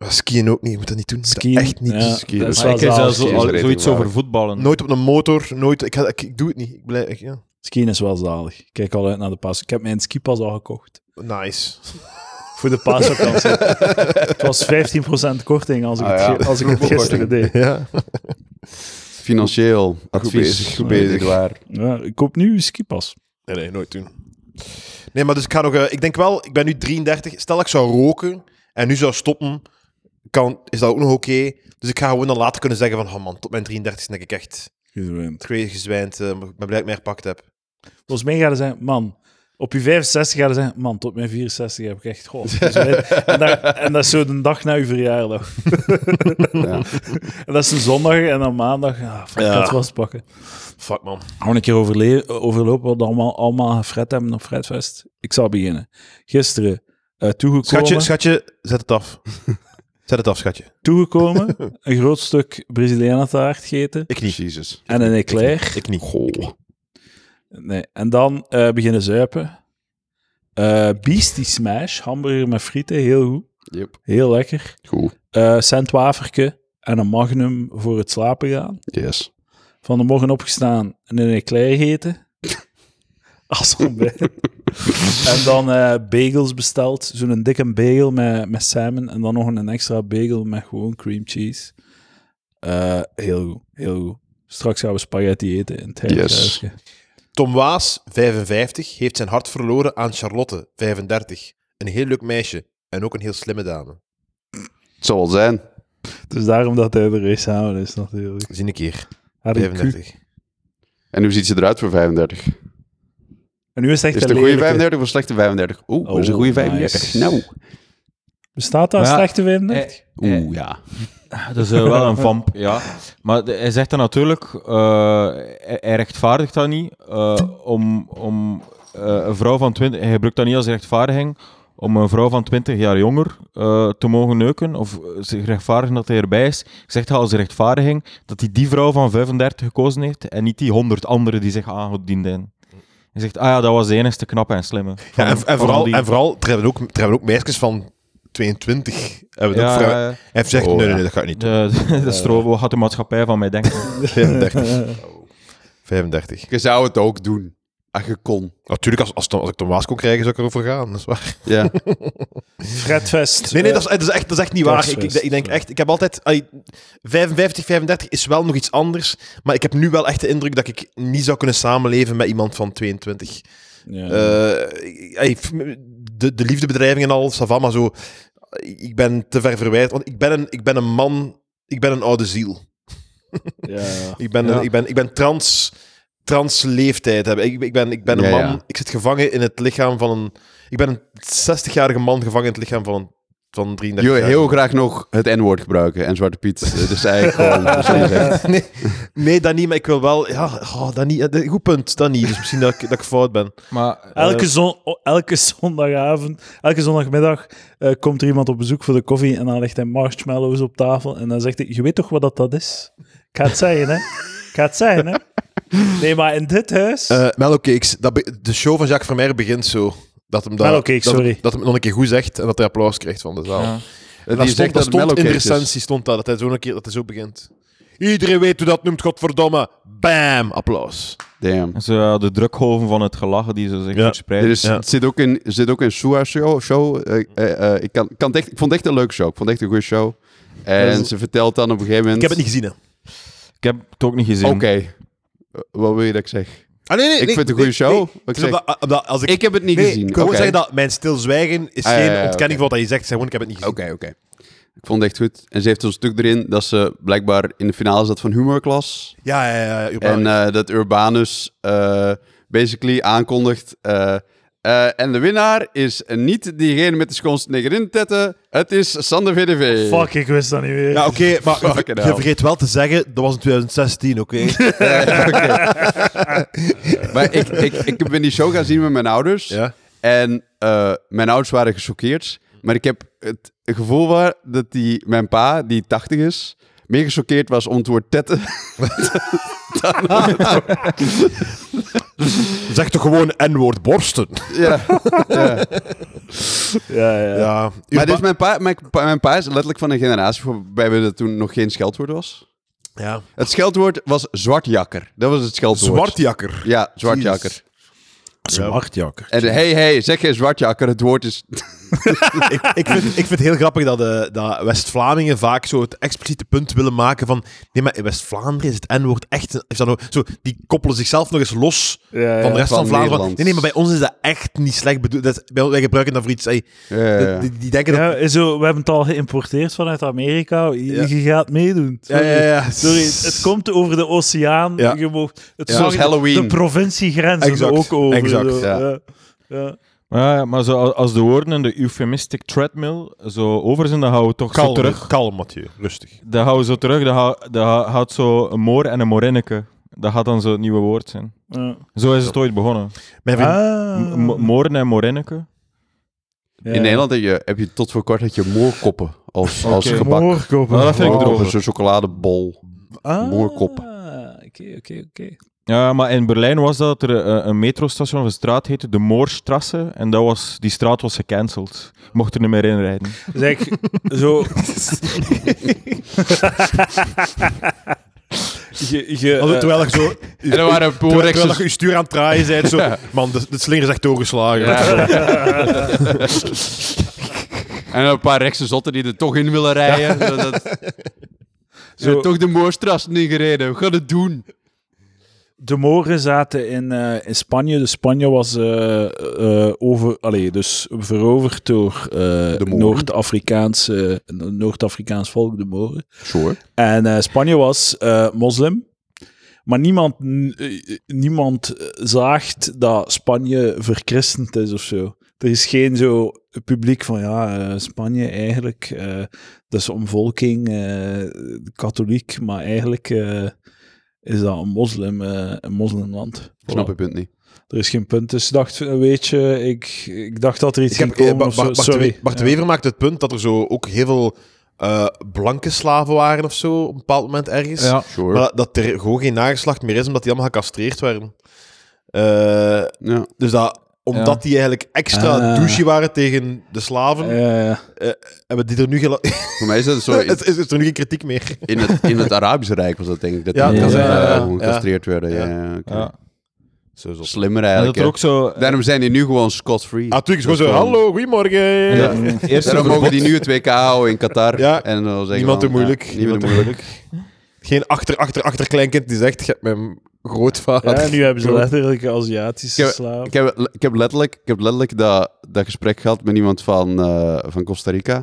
A: Skiën ook niet. Je moet dat niet doen. Je moet dat
B: Skiën,
A: echt niet
B: ja,
A: doen.
C: skiën.
B: Dat is
C: Maar
B: wel
D: ik heb
B: zalig.
D: zelfs
C: Skiën is
D: al-
C: redelijk
D: zoiets
C: waar.
D: over voetballen.
A: Nooit op een motor, nooit. Ik, ga, ik, ik doe het niet. Ik blijf, ik- ja.
B: Skiën is wel zalig. Ik Kijk al uit naar de pas. Ik heb mijn skipas al gekocht.
A: Nice.
B: voor de paasvakantie. het was 15% korting als ik,
C: Ah,
B: het,
C: ja.
B: ge- als ik het gisteren deed.
A: Ja.
C: Financieel advies.
A: Goed bezig,
C: Goed bezig. Waar.
B: Ja, ik koop nu skipas.
A: Nee, nee, nooit doen. Nee, maar dus ik ga nog... eh, ik denk wel, ik ben nu 33. Stel dat ik zou roken en nu zou stoppen, kan, is dat ook nog oké. Dus ik ga gewoon dan later kunnen zeggen van, oh man, tot mijn 33 denk ik echt
B: Gezwind.
A: twee gezwijnd. eh, maar ik ben blij dat ik mij herpakt heb.
B: Volgens mij gaan ze zeggen, man, op je 65 gaan ze zeggen, man, tot mijn 64 heb ik echt god. gezwind. en, daar- en dat is zo de dag na je verjaardag.
C: Ja.
B: En dat is een zondag en dan maandag, ja, fuck,
A: Ja.
B: dat was pakken.
A: Fuck, man.
B: Gewoon een keer overle- overlopen wat allemaal, allemaal gefret hebben op Fredfest. Ik zal beginnen. Gisteren eh, toegekomen,
A: Schatje, schatje, zet het af. zet het af, schatje.
B: toegekomen, een groot stuk Brazilianataart gegeten
A: Ik niet.
C: Jezus.
B: en een eclair.
A: Ik niet.
C: Goh.
B: Nee. En dan eh, beginnen zuipen. Eh Beastie Smash, hamburger met frieten, heel goed.
C: Yep.
B: Heel lekker.
C: Goed.
B: Eh centwaferke en een magnum voor het slapen gaan.
C: Yes.
B: Van de morgen opgestaan en een eclair eten. Als ontbijt. en dan eh, bagels besteld. Zo'n dikke bagel met, met salmon. En dan nog een extra bagel met gewoon cream cheese. Eh, heel goed, heel goed. Straks gaan we spaghetti eten in het
C: Yes.
B: huisje.
A: Tom Waas, 55, heeft zijn hart verloren aan Charlotte, 35. Een heel leuk meisje en ook een heel slimme dame.
C: Het zal wel zijn.
B: Dus daarom dat hij er eens samen is natuurlijk.
A: Zie een keer.
B: Haar een Q.
A: 35.
C: En hoe ziet ze eruit voor 35?
B: En nu is het echt
C: Is het
B: een
C: een goede
B: lelijke.
C: 35 of een slechte 35? Oeh,
B: Oh,
C: is een goede
B: nice.
C: 35. Nou.
B: Bestaat dat
D: Ja.
B: slechte wind?
A: Eh.
C: Oeh, ja.
D: Dat is eh, wel een vamp, ja. Maar de- hij zegt dat natuurlijk, eh, hij, hij rechtvaardigt dat niet, eh, om, om eh, een vrouw van 20, hij gebruikt dat niet als rechtvaardiging, om een vrouw van 20 jaar jonger eh, te mogen neuken, of eh, zich rechtvaardigen dat hij erbij is. Hij zegt dat als rechtvaardiging, dat hij die vrouw van 35 gekozen heeft, en niet die 100 anderen die zich aangediend hebben. Hij zegt, ah ja, dat was de enigste knappe en slimme.
A: Ja,
D: van-
A: en, en
D: van
A: vooral,
D: die-
A: en vooral er, hebben ook, er hebben ook meisjes van 22. Hebben het
D: Ja,
A: ook vrouwen.
D: ja, ja.
A: Hij heeft gezegd,
C: Oh,
A: nee, nee,
C: ja.
A: nee, dat ga ik niet doen.
D: de, de, de strobo gaat de maatschappij van mij denken.
A: 35. 35.
C: Je zou het ook doen. Ach, je kon.
A: Natuurlijk, als, als, Tom- als ik Tom Waas kon krijgen, zou ik erover gaan. Dat is waar.
C: Ja.
B: Fredfest.
A: Nee, nee, dat is, dat is, echt, dat is echt niet waar. Ik, ik,
B: Kerstfeest.
A: ik denk echt, ik heb altijd... ai, 55, 35 is wel nog iets anders. Maar ik heb nu wel echt de indruk dat ik niet zou kunnen samenleven met iemand van 22.
B: Ja.
A: Eh, ey, f- de, de liefdebedrijving en al, Savama maar zo. Ik ben te ver verwijderd, want ik ben een, ik ben een man, ik ben een oude ziel.
B: ja.
A: Ik ben,
D: Ja.
A: ik ben, ik ben trans, trans leeftijd. hebben. Ik, ik, ben, ik ben een
C: Ja,
A: man,
C: ja.
A: ik zit gevangen in het lichaam van een... Ik ben een 60-jarige man gevangen in het lichaam van een van 33
C: Jo,
A: jaar.
C: heel graag nog het N-woord gebruiken en Zwarte Piet. eh, Dus eigenlijk gewoon. dus die zegt,
A: nee, nee, dat niet, maar ik wil wel... Ja, oh, dat niet. eh, Goed punt, dat niet. Dus misschien dat ik, dat ik fout ben.
D: Maar, eh,
B: Elke, zon, o- elke zondagavond, elke zondagmiddag eh, komt er iemand op bezoek voor de koffie en dan legt hij marshmallows op tafel en dan zegt hij, je weet toch wat dat, dat is? Ik ga het zeggen, hè. Ik ga het zeggen, hè. Nee, maar in dit huis...
A: Eh Mellowcakes, dat be- de show van Jacques Vermeer begint zo. Dat hem dat,
B: Mellowcakes,
A: dat, hem-
B: sorry.
A: dat hem nog een keer goed zegt en dat hij applaus krijgt van de zaal.
D: ja.
A: En dat
C: die
A: stond,
C: zegt
A: dat
C: dat
A: stond in de
C: Mellowcakes is.
A: recensie stond dat, dat hij zo een keer dat hij zo begint. Iedereen weet hoe dat noemt, godverdomme. Bam! Applaus.
C: Damn.
D: Zo, ja, de drukgolven van het gelachen die ze zich
A: Ja.
C: Er
D: verspreiden.
C: is,
A: Ja.
C: Het zit ook in, zit ook in Sua Show. show. Eh, eh, eh, ik, kan, kan het echt, ik vond het echt een leuke show. Ik vond het echt een goede show. En ze vertelt dan op een gegeven
A: Ik
C: moment...
A: heb het niet gezien, hè.
D: Ik heb het ook niet gezien.
C: Oké. Eh, Wat wil je dat ik zeg?
A: Ah, nee, nee,
C: Ik
A: nee,
C: vind het
A: nee,
C: een goede show.
A: nee. Het
C: Wat ik
A: is
C: zeg.
A: omdat- omdat als ik,
C: Ik heb het niet
A: nee,
C: gezien.
A: Ik wil gewoon
C: Oké.
A: zeggen dat mijn stilzwijgen is
C: Ah, ja,
A: geen
C: ja, ja,
A: ontkenning van
C: oké.
A: wat hij zegt. Zeg gewoon, ik heb het niet
C: Oké,
A: gezien.
C: oké. Ik vond het echt goed. En ze heeft zo'n stuk erin dat ze blijkbaar in de finale zat van humorklas.
A: Ja, ja, ja. ja,
C: En
A: ja.
C: eh, dat Urbanus eh, basically aankondigt... eh, eh, en de winnaar is niet diegene met de schoonste negerin tetten. Het is Sander VDV.
B: Fuck, ik wist dat niet meer.
A: ja, oké, maar maar
C: Fucking
A: je
C: hell.
A: vergeet wel te zeggen, dat was in 2016, oké?
C: Maar ik, ik, ik ben die show gaan zien met mijn ouders.
A: ja.
C: En eh, mijn ouders waren gechoqueerd. Maar ik heb het gevoel waar dat die, mijn pa, die 80 is, meer gechoqueerd was om het woord tetten.
A: Zeg toch gewoon N-woord borsten.
C: ja. ja.
B: ja, ja.
A: Ja,
C: Maar dus mijn, pa, mijn, pa, mijn pa is letterlijk van een generatie waarbij we dat toen nog geen scheldwoord was.
A: ja.
C: Het scheldwoord was zwartjakker. Dat was het scheldwoord.
A: Zwartjakker.
C: Ja, zwartjakker.
A: Jezus.
B: Zwartjakker.
C: En hey, hey, zeg geen zwartjakker. Het woord is
A: ik, ik, vind, ik vind het heel grappig dat, eh, dat West-Vlamingen vaak zo het expliciete punt willen maken van nee, maar in West-Vlaanderen is het N-woord echt... een- Is dat nou, zo, die koppelen zichzelf nog eens los
B: Ja,
A: van de
B: ja.
A: rest van,
C: van
A: Vlaanderen.
C: Nederland.
A: Nee, nee, maar bij ons is dat echt niet slecht bedoeld. Dat is- bij ons- Wij gebruiken dat voor iets... ey,
C: Ja, ja, ja.
A: Die, die denken dat...
B: Ja, eh, zo, we hebben het al geïmporteerd vanuit Amerika. Je,
A: Ja.
B: je gaat meedoen.
A: Ja,
B: Sorry.
A: ja, ja.
B: Sorry, het komt over de oceaan.
A: Ja.
B: Je moogt, het
A: Ja.
B: zorgt-
C: Zoals Halloween.
B: De provinciegrenzen
A: Exact,
B: ook over.
A: exact,
B: zo.
C: ja.
B: Ja. Ja.
D: Ja, ja, maar zo, als de woorden in de euphemistic treadmill zo over zijn, dan houden we toch zo
A: Kalm,
D: terug.
A: terug. kalm, Mathieu. Rustig.
D: Dat houden we zo terug. Dat, hou- dat hou- houdt zo een moor en een morinneke. Dat gaat dan zo het nieuwe woord zijn.
B: Ja.
D: Zo is het ooit begonnen.
A: Mijn vriend,
B: Ah.
D: M- moren en morinneke.
B: Ja.
C: In Nederland heb je, heb je tot voor kort had je moorkoppen als, als
D: Oké.
C: gebak.
B: Moorkoppen.
D: Nou, dat vind ik
C: Moorkoppen,
D: erover.
C: zo'n chocoladebol.
B: Ah,
C: moorkoppen.
B: Oké, oké, oké.
D: Ja, maar in Berlijn was dat er eh, een metrostation of een straat heette de Moorstrasse. En dat was, die straat was gecanceld. Mocht er niet meer in rijden.
B: Zeg, zo... je, je,
A: Alsof-
B: eh,
A: terwijl ik zo...
C: En er waren
A: Terwijl, terwijl dat
C: boorrechters.
A: je je stuur aan het draaien bent, zo... Man, de, de slinger is echt doorgeslagen.
C: En een paar rechtse zotten die er toch in willen rijden. zodat- Ze
B: Zo-
C: hebben toch de moorstras niet gereden. We gaan het doen.
B: de Moren zaten in, eh, in Spanje. Dus Spanje was eh, eh, over, allee, dus veroverd door eh
C: Moren.
B: Noord-Afrikaans Noord volk, de Moren.
C: Sure.
B: En eh, Spanje was eh, moslim. Maar niemand, n- eh, niemand eh, zaagt dat Spanje verchristend is of zo. Er is geen zo publiek van ja, eh, Spanje eigenlijk, eh, dat is omvolking, eh, katholiek, maar eigenlijk eh, is dat een moslim, eh, een moslimland.
C: Ik snap
B: Voilà.
C: je punt niet.
B: Er is geen punt. Dus ik dacht, eh, weet je, ik, ik dacht dat er iets
A: Ik
B: ging
A: heb, eh,
B: komen
A: Ba-
B: of zo.
A: Bart, Bart,
B: Sorry.
A: de We- Bart de Wever maakt het punt dat er zo ook heel veel eh, blanke slaven waren of zo, op een bepaald moment ergens.
C: Sure.
A: Maar dat, dat er gewoon geen nageslacht meer is, omdat die allemaal gecastreerd werden. Eh,
C: ja.
A: dus dat, omdat
D: Ja.
A: die eigenlijk extra
B: Ah.
A: douche waren tegen de slaven,
B: Eh,
A: hebben die er nu gela-
C: Voor mij is dat zo.
A: het, is, is er nu geen kritiek meer.
C: In het, in het Arabische Rijk was dat denk ik. Dat
A: Ja,
C: die
D: dat
C: eh,
D: kan zijn,
A: ja.
C: gewoon
A: Ja.
C: gecastreerd werden. Ja. ja, oké.
D: Ja.
A: Zo zot.
C: Slimmer
D: En
C: eigenlijk.
D: dat er ook
C: hè.
D: zo...
C: Daarom zijn die nu gewoon scot-free.
A: Ah, natuurlijk, gewoon zo,
C: Dat is gewoon-
A: hallo, goedemorgen.
D: en dat-
A: Ja.
D: het eh, eerste
C: Daarom
D: verbod-
C: mogen die nu het WK houden in Qatar.
A: Ja.
C: En dan zeggen
A: Niemand
C: van,
A: te moeilijk.
C: ja,
A: niemand
C: niemand
A: te
C: te moeilijk.
A: Geen achter, achter, achterkleinkind die zegt, je hebt mijn grootvader.
B: ja, nu hebben ze letterlijk Aziatische
C: Ik heb-
B: slaven.
C: Ik heb, ik heb letterlijk, ik heb letterlijk dat, dat gesprek gehad met iemand van, eh, van Costa Rica.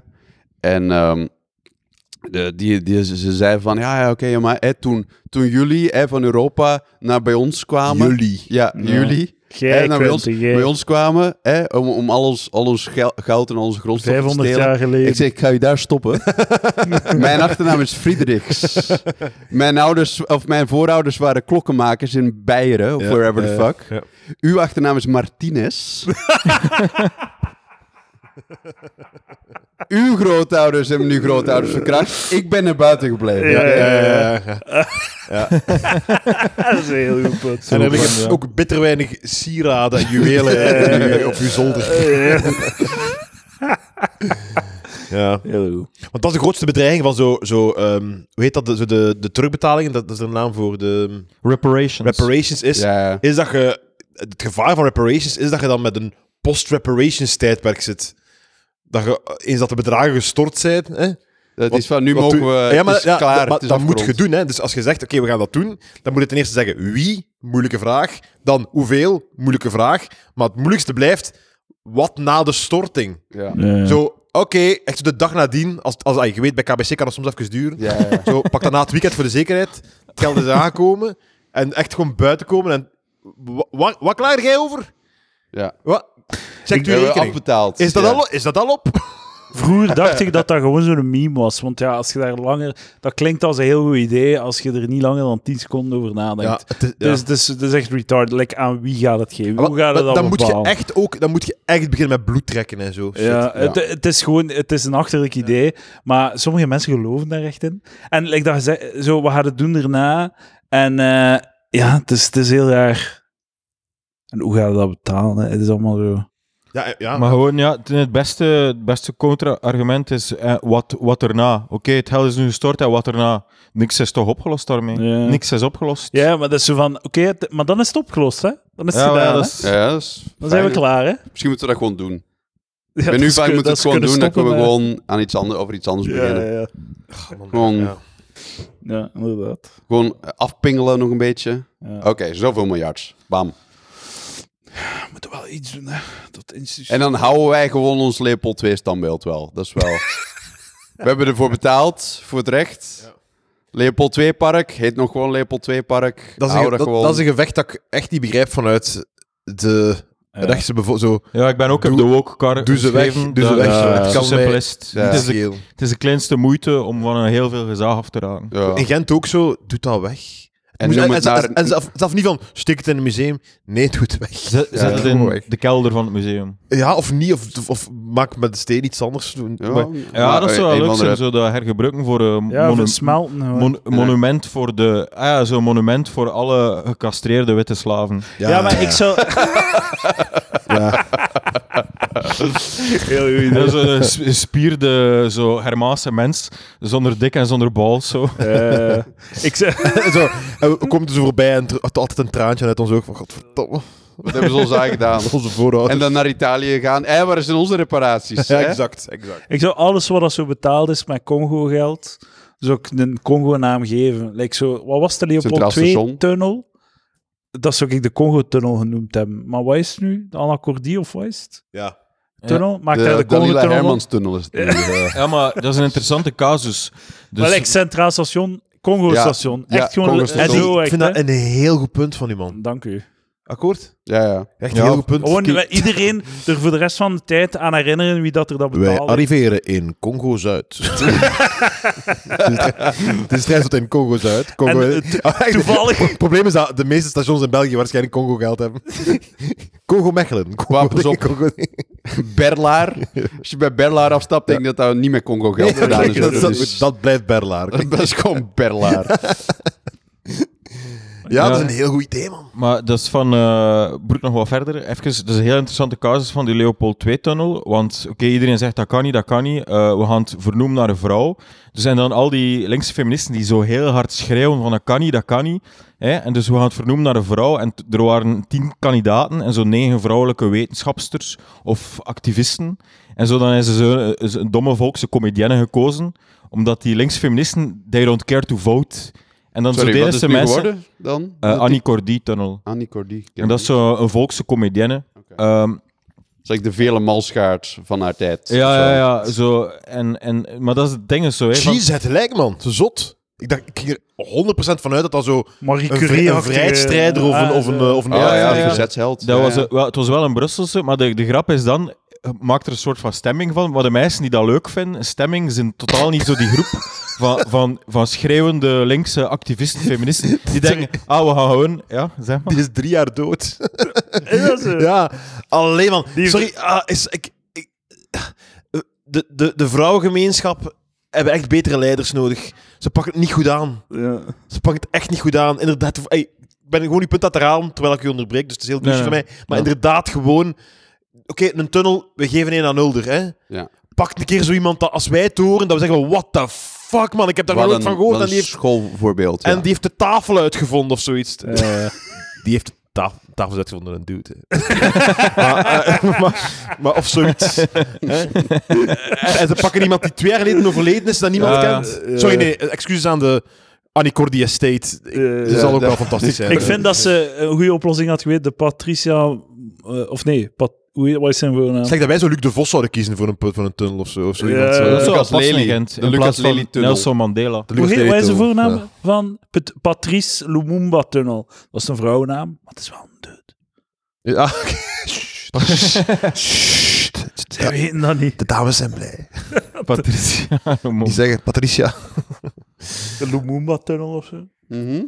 C: En ehm, de, die, die, ze ze zei van, ja, ja oké, ja, maar hè, toen, toen jullie hè, van Europa naar bij ons kwamen...
A: Jullie.
C: Ja,
B: Ja.
C: jullie.
B: Jij
C: hè, naar bij, ons,
B: Quinten,
A: eh,
B: jij.
C: bij ons kwamen hè, om, om al ons, al ons gel- goud en al onze grondstoffen te
B: 500
C: stelen.
B: jaar geleden.
C: Ik zeg, ik ga je daar stoppen. mijn achternaam is Friedrichs. Mijn, ouders, of mijn voorouders waren klokkenmakers in Beieren, of
A: Ja,
C: wherever the
A: ja,
C: fuck.
A: ja.
C: Uw achternaam is Martinez. Uw grootouders hebben uw grootouders verkracht. Ik ben er buiten gebleven.
B: Ja,
A: Ja,
B: ja,
A: ja, ja, ja.
B: dat is een heel goed punt.
A: En er liggen
D: Ja.
A: ook bitter weinig sieraden en juwelen in uw- op uw zolder. Ja.
B: Heel goed.
A: Want dat is de grootste bedreiging van zo... zo ehm, hoe heet dat? De, zo de, de terugbetalingen, dat, dat is een naam voor de ehm,
D: Reparations.
A: reparations. Is,
C: Ja.
A: is dat je... Het gevaar van reparations is dat je dan met een post-reparations tijdperk zit. Dat je, eh, eens dat de bedragen gestort zijn... Hè,
C: Dat
A: wat-
C: is van, nu
A: wat
C: mogen
A: doe-
C: we...
A: Ja, maar,
C: het is
A: ja,
C: klaar,
A: maar
C: het is
A: dat moet je
C: afgerond.
A: doen. Hè. Dus als je zegt, oké, we gaan dat doen, dan moet je ten eerste zeggen wie, moeilijke vraag. Dan hoeveel, moeilijke vraag. Maar het moeilijkste blijft, wat na de storting?
C: Ja.
B: Eh,
A: Zo, oké, echt zo de dag nadien. Als, als, ah, je weet, bij KBC kan dat soms even duren.
C: Ja, ja.
A: Zo, pak dan na het weekend voor de zekerheid. Het geld is aankomen. En echt gewoon buiten komen. En, wa- wa- wat klaar jij over?
C: ja.
A: Wat? Check
C: We
A: uw
C: hebben
A: rekening.
C: afbetaald.
A: Is dat,
C: eh, Ja.
A: al, is dat al op?
B: Vroeger dacht ik dat dat gewoon zo'n meme was. Want ja, als je daar langer... Dat klinkt als een heel goed idee als je er niet langer dan 10 seconden over nadenkt.
A: het is-
B: Dus het is, het is echt retarded. Like, aan wie gaat het geven?
A: Maar-
B: Hoe gaat
A: Ah, maar
B: het dan
A: dan moet je
B: bepalen?
A: echt ook, dan moet je echt beginnen met bloed trekken en zo. Shit.
B: Ja, Het,
C: ja.
B: het is gewoon het is een achterlijk idee, maar sommige mensen geloven daar echt in. En like dat gezegd, zo, we gaan het doen daarna. En eh, ja, het is, het is heel raar. En hoe gaan we dat betalen? hè? Het is allemaal zo.
A: Ja, ja.
D: Maar gewoon, ja, het- het beste, het beste contra-argument is eh, wat, wat erna. Oké, het geld is nu gestort en wat erna. Niks is toch opgelost daarmee?
B: Ja.
D: Niks is opgelost.
B: Ja, maar dat is zo van, oké, het- maar dan is het opgelost, hè? Dan is het
D: Ja, maar
B: gedaan,
D: ja, dat
B: hè?
D: is-
C: Ja, dat is
B: Dan zijn we
C: fijn.
B: klaar, hè?
C: Misschien moeten we dat gewoon doen.
B: Ja,
C: ben nu
B: dat
C: vaak
B: is-
C: moet
B: dat
C: het
B: is
C: gewoon doen,
B: kunnen
C: dan kunnen we
B: stoppen,
C: gewoon aan iets anders, over iets anders
B: ja,
C: beginnen.
B: ja, ja.
C: Gewoon,
A: Ja.
B: ja, inderdaad.
C: gewoon afpingelen nog een beetje.
B: Ja.
C: Oké, zoveel miljards. Bam.
B: We moeten wel iets doen, hè. Dat instituut.
C: En dan houden wij gewoon ons Leopold 2 standbeeld wel. Dat is wel... We hebben ervoor betaald, voor het recht.
A: Ja.
C: Leopold 2 Park, heet nog gewoon Leopold 2 Park.
A: Dat, is
C: Hou
A: een,
C: dat
A: dat,
C: gewoon.
A: dat is een gevecht dat ik echt niet begrijp vanuit de rechtse bevolking. Zo,
D: Ja, ik ben ook op
A: Doe-
D: de woke car
A: doe ze weg,
D: geschreven.
A: doe ze
D: Dat-
A: weg,
D: ja,
A: het
D: zo
A: kan
D: simpel
A: mij-
D: is het.
C: Ja.
D: Het is de-
A: scheel.
D: Het is de kleinste moeite om van een heel veel gezag af te raken.
C: Ja.
A: In Gent ook zo, doet dat weg.
C: En
A: Moest-
C: noem
A: en,
C: het
A: en-
C: naar-
A: en- en zelf, zelf niet van, steek het in een museum. Nee, doe het weg.
D: Zet,
C: Ja,
D: zet het in
A: gewoon weg.
D: de kelder van het museum.
A: Ja, of niet, of, of, of maak met de steen iets anders. doen.
C: Ja,
A: Maar-
D: Ja, eh, dat
C: is
D: zou wel leuk zijn, zo dat hergebruiken voor
C: Eh,
D: een
B: ja, we smelten gewoon.
D: monument voor de... Ah ja, zo'n monument voor alle gecastreerde witte slaven.
B: ja, maar ik zou... Heel goed idee.
D: En zo'n spierde, zo Hermaanse mens, zonder dik en zonder bal, zo.
B: Eh, ik zou...
A: zo, en we komen er zo voorbij en er- altijd een traantje uit ons oog. Van, godverdomme,
C: Dat hebben ze ons aangedaan.
A: onze voorouders.
C: En dan naar Italië gaan. Hé, waar zijn onze reparaties?
A: ja,
C: hè?
A: exact, exact.
B: Ik zou alles wat dat zo betaald is met Congo-geld, zou ik een Congo-naam geven. Like zo, wat was de
C: Centraal
B: Leopold
C: Station.
B: 2-tunnel? Dat zou ik de Congo-tunnel genoemd hebben. Maar wat is het nu? De Anacordie of wat is het?
A: Ja.
B: Tunnel? Maak daar
C: De
B: de
C: Dalila
B: Congo-tunnel van?
C: Hermans tunnel is het. nu, eh.
D: Ja, maar dat is een interessante casus. Dus
B: Wel, like Centraal Station, Congo-station.
C: Ja,
B: echt gewoon...
C: Congo-station.
B: en
A: Eddie,
B: zo,
A: ik
B: echt,
A: vind
B: hè.
A: dat een heel goed punt van die man.
B: Dank u.
A: Akkoord?
C: Ja, ja.
A: Echt een
D: Ja.
A: heel goed punt.
B: Gewoon we- iedereen er voor de rest van de tijd aan herinneren wie dat er dat
A: Wij
B: betaalde.
A: arriveren in Congo-Zuid. Het is trouwens tot in Congo-Zuid. Congo Ah,
B: En, eh, to- toevallig-
A: Het probleem is dat de meeste stations in België waarschijnlijk Congo-geld hebben. Congo-Mechelen.
C: Maar pas op.
A: Congo
C: Berlaar. Als je bij Berlaar afstapt, denk ik dat dat niet met Congo geld gedaan
A: dat,
C: is. hoor.
A: dat-
C: Dat is-
A: dat blijft Berlaar.
C: dat is gewoon Berlaar.
A: Ja, dat is
D: Ja.
A: een heel goed idee, man.
D: Maar dat is van eh Broek nog wat verder. Even, dat is een heel interessante casus van die Leopold II-tunnel. Want oké, iedereen zegt dat kan niet, dat kan niet. Eh, we gaan het vernoemen naar een vrouw. Dus zijn dan al die linkse feministen die zo heel hard schreeuwen van dat kan niet, dat kan niet. Hè? En dus we gaan het vernoemen naar een vrouw. En t- er waren tien kandidaten en zo'n negen vrouwelijke wetenschapsters of activisten. En zo dan is er zo- is een domme volkse comedienne gekozen. Omdat die linkse feministen, they don't care to vote. En dan
C: Sorry,
D: zo
C: wat
D: deden
C: is
D: ze
C: het nu
D: mensen...
C: geworden dan?
D: eh, Annie Cordy-tunnel.
C: Annie Cordy. Ik ken
D: En dat is
C: haar
D: zo een volkse comedienne.
C: Oké.
D: Ehm,
C: niet. Dat is like de vele malschaart van haar tijd.
D: ja,
C: Of zo.
D: ja, ja. Zo, en, en, maar dat is het ding is zo. Hè, van-
A: Jeez, het lijkt, man. Te zot. Ik dacht, ik ging er 100% van uit dat dat zo
B: Marie
A: een, vri-
B: Curie
A: een vrijstrijder of een... Of een, eh, of een
C: Ah, ja,
D: ja,
C: de
D: ja.
C: verzetsheld.
D: dat
C: Ja,
D: was,
C: ja.
D: eh, wel, het was wel een Brusselse, maar de, de grap is dan... je Maakt er een soort van stemming van. Maar de mensen die dat leuk vinden, stemming, zijn totaal niet zo die groep van, van, van schreeuwende linkse activisten, feministen. Die denken, ah, we gaan gewoon... Ja, zeg maar.
A: Die is drie jaar dood.
B: dat is, eh,
A: Ja, alleen man.
B: Die-
A: Sorry, ah, is, ik, ik- eh, de, de, de vrouwengemeenschap hebben echt betere leiders nodig. Ze pakken het niet goed aan.
B: ja.
A: Ze pakken het echt niet goed aan. Inderdaad, ey, ik ben gewoon die punt aan het herhalen, terwijl ik u onderbreek, dus het is heel
D: Nee,
A: douche voor
D: nee.
A: mij. Maar
D: Ja.
A: inderdaad, gewoon... Oké, een tunnel, we geven een aan Ulder, hè.
C: Ja.
A: Pak een keer zo iemand dat als wij het horen, dat we zeggen, what the fuck, man, ik heb daar nog
C: Wat
A: nooit
C: een,
A: van gehoord.
C: wat
A: En
C: een
A: die, heeft,
C: schoolvoorbeeld. ja.
A: en die heeft de tafel uitgevonden of zoiets.
B: Eh,
A: Die heeft taf tafels uitgevonden door een dude. hè. maar, eh, maar, maar of zoiets. Hè? en ze pakken iemand die twee jaar geleden overleden is, dat niemand
D: Ja, ja.
A: kent. Sorry, nee, excuses aan de Anicordi Estate. Ik-
B: eh,
A: Ze
C: ja,
A: zal ook
C: dat-
A: wel fantastisch zijn. Eh,
B: Ik vind dat ze een goede oplossing had geweten. De Patricia... eh, of nee, Pat, hoe, wat is zijn voornaam?
A: Het is echt dat wij zo Luc de Vos zouden kiezen voor een, put- voor een tunnel of zo. Of zo
B: Ja,
A: iemand zo.
B: ja,
D: Dat
B: ja.
D: is wel
C: Eh, Lucas
D: passend,
C: Lely.
D: Gent,
C: De
D: In
C: Lucas
D: plaats van
C: Lely-tunnel.
D: Nelson Mandela.
A: De
B: Hoe
A: Lucas
B: heet, wat is de
A: Lely-tunnel.
B: voornaam
A: Ja.
B: van Pat- Patrice Lumumba-tunnel? Dat is een vrouwennaam, maar het is wel een dude.
A: Ja, oké. Sst. Sst.
B: Zij weten dat niet.
A: De dames zijn blij.
D: Patricia Lumumba.
A: Die zeggen, Patricia.
B: De Lumumba-tunnel of zo.
C: Mhm.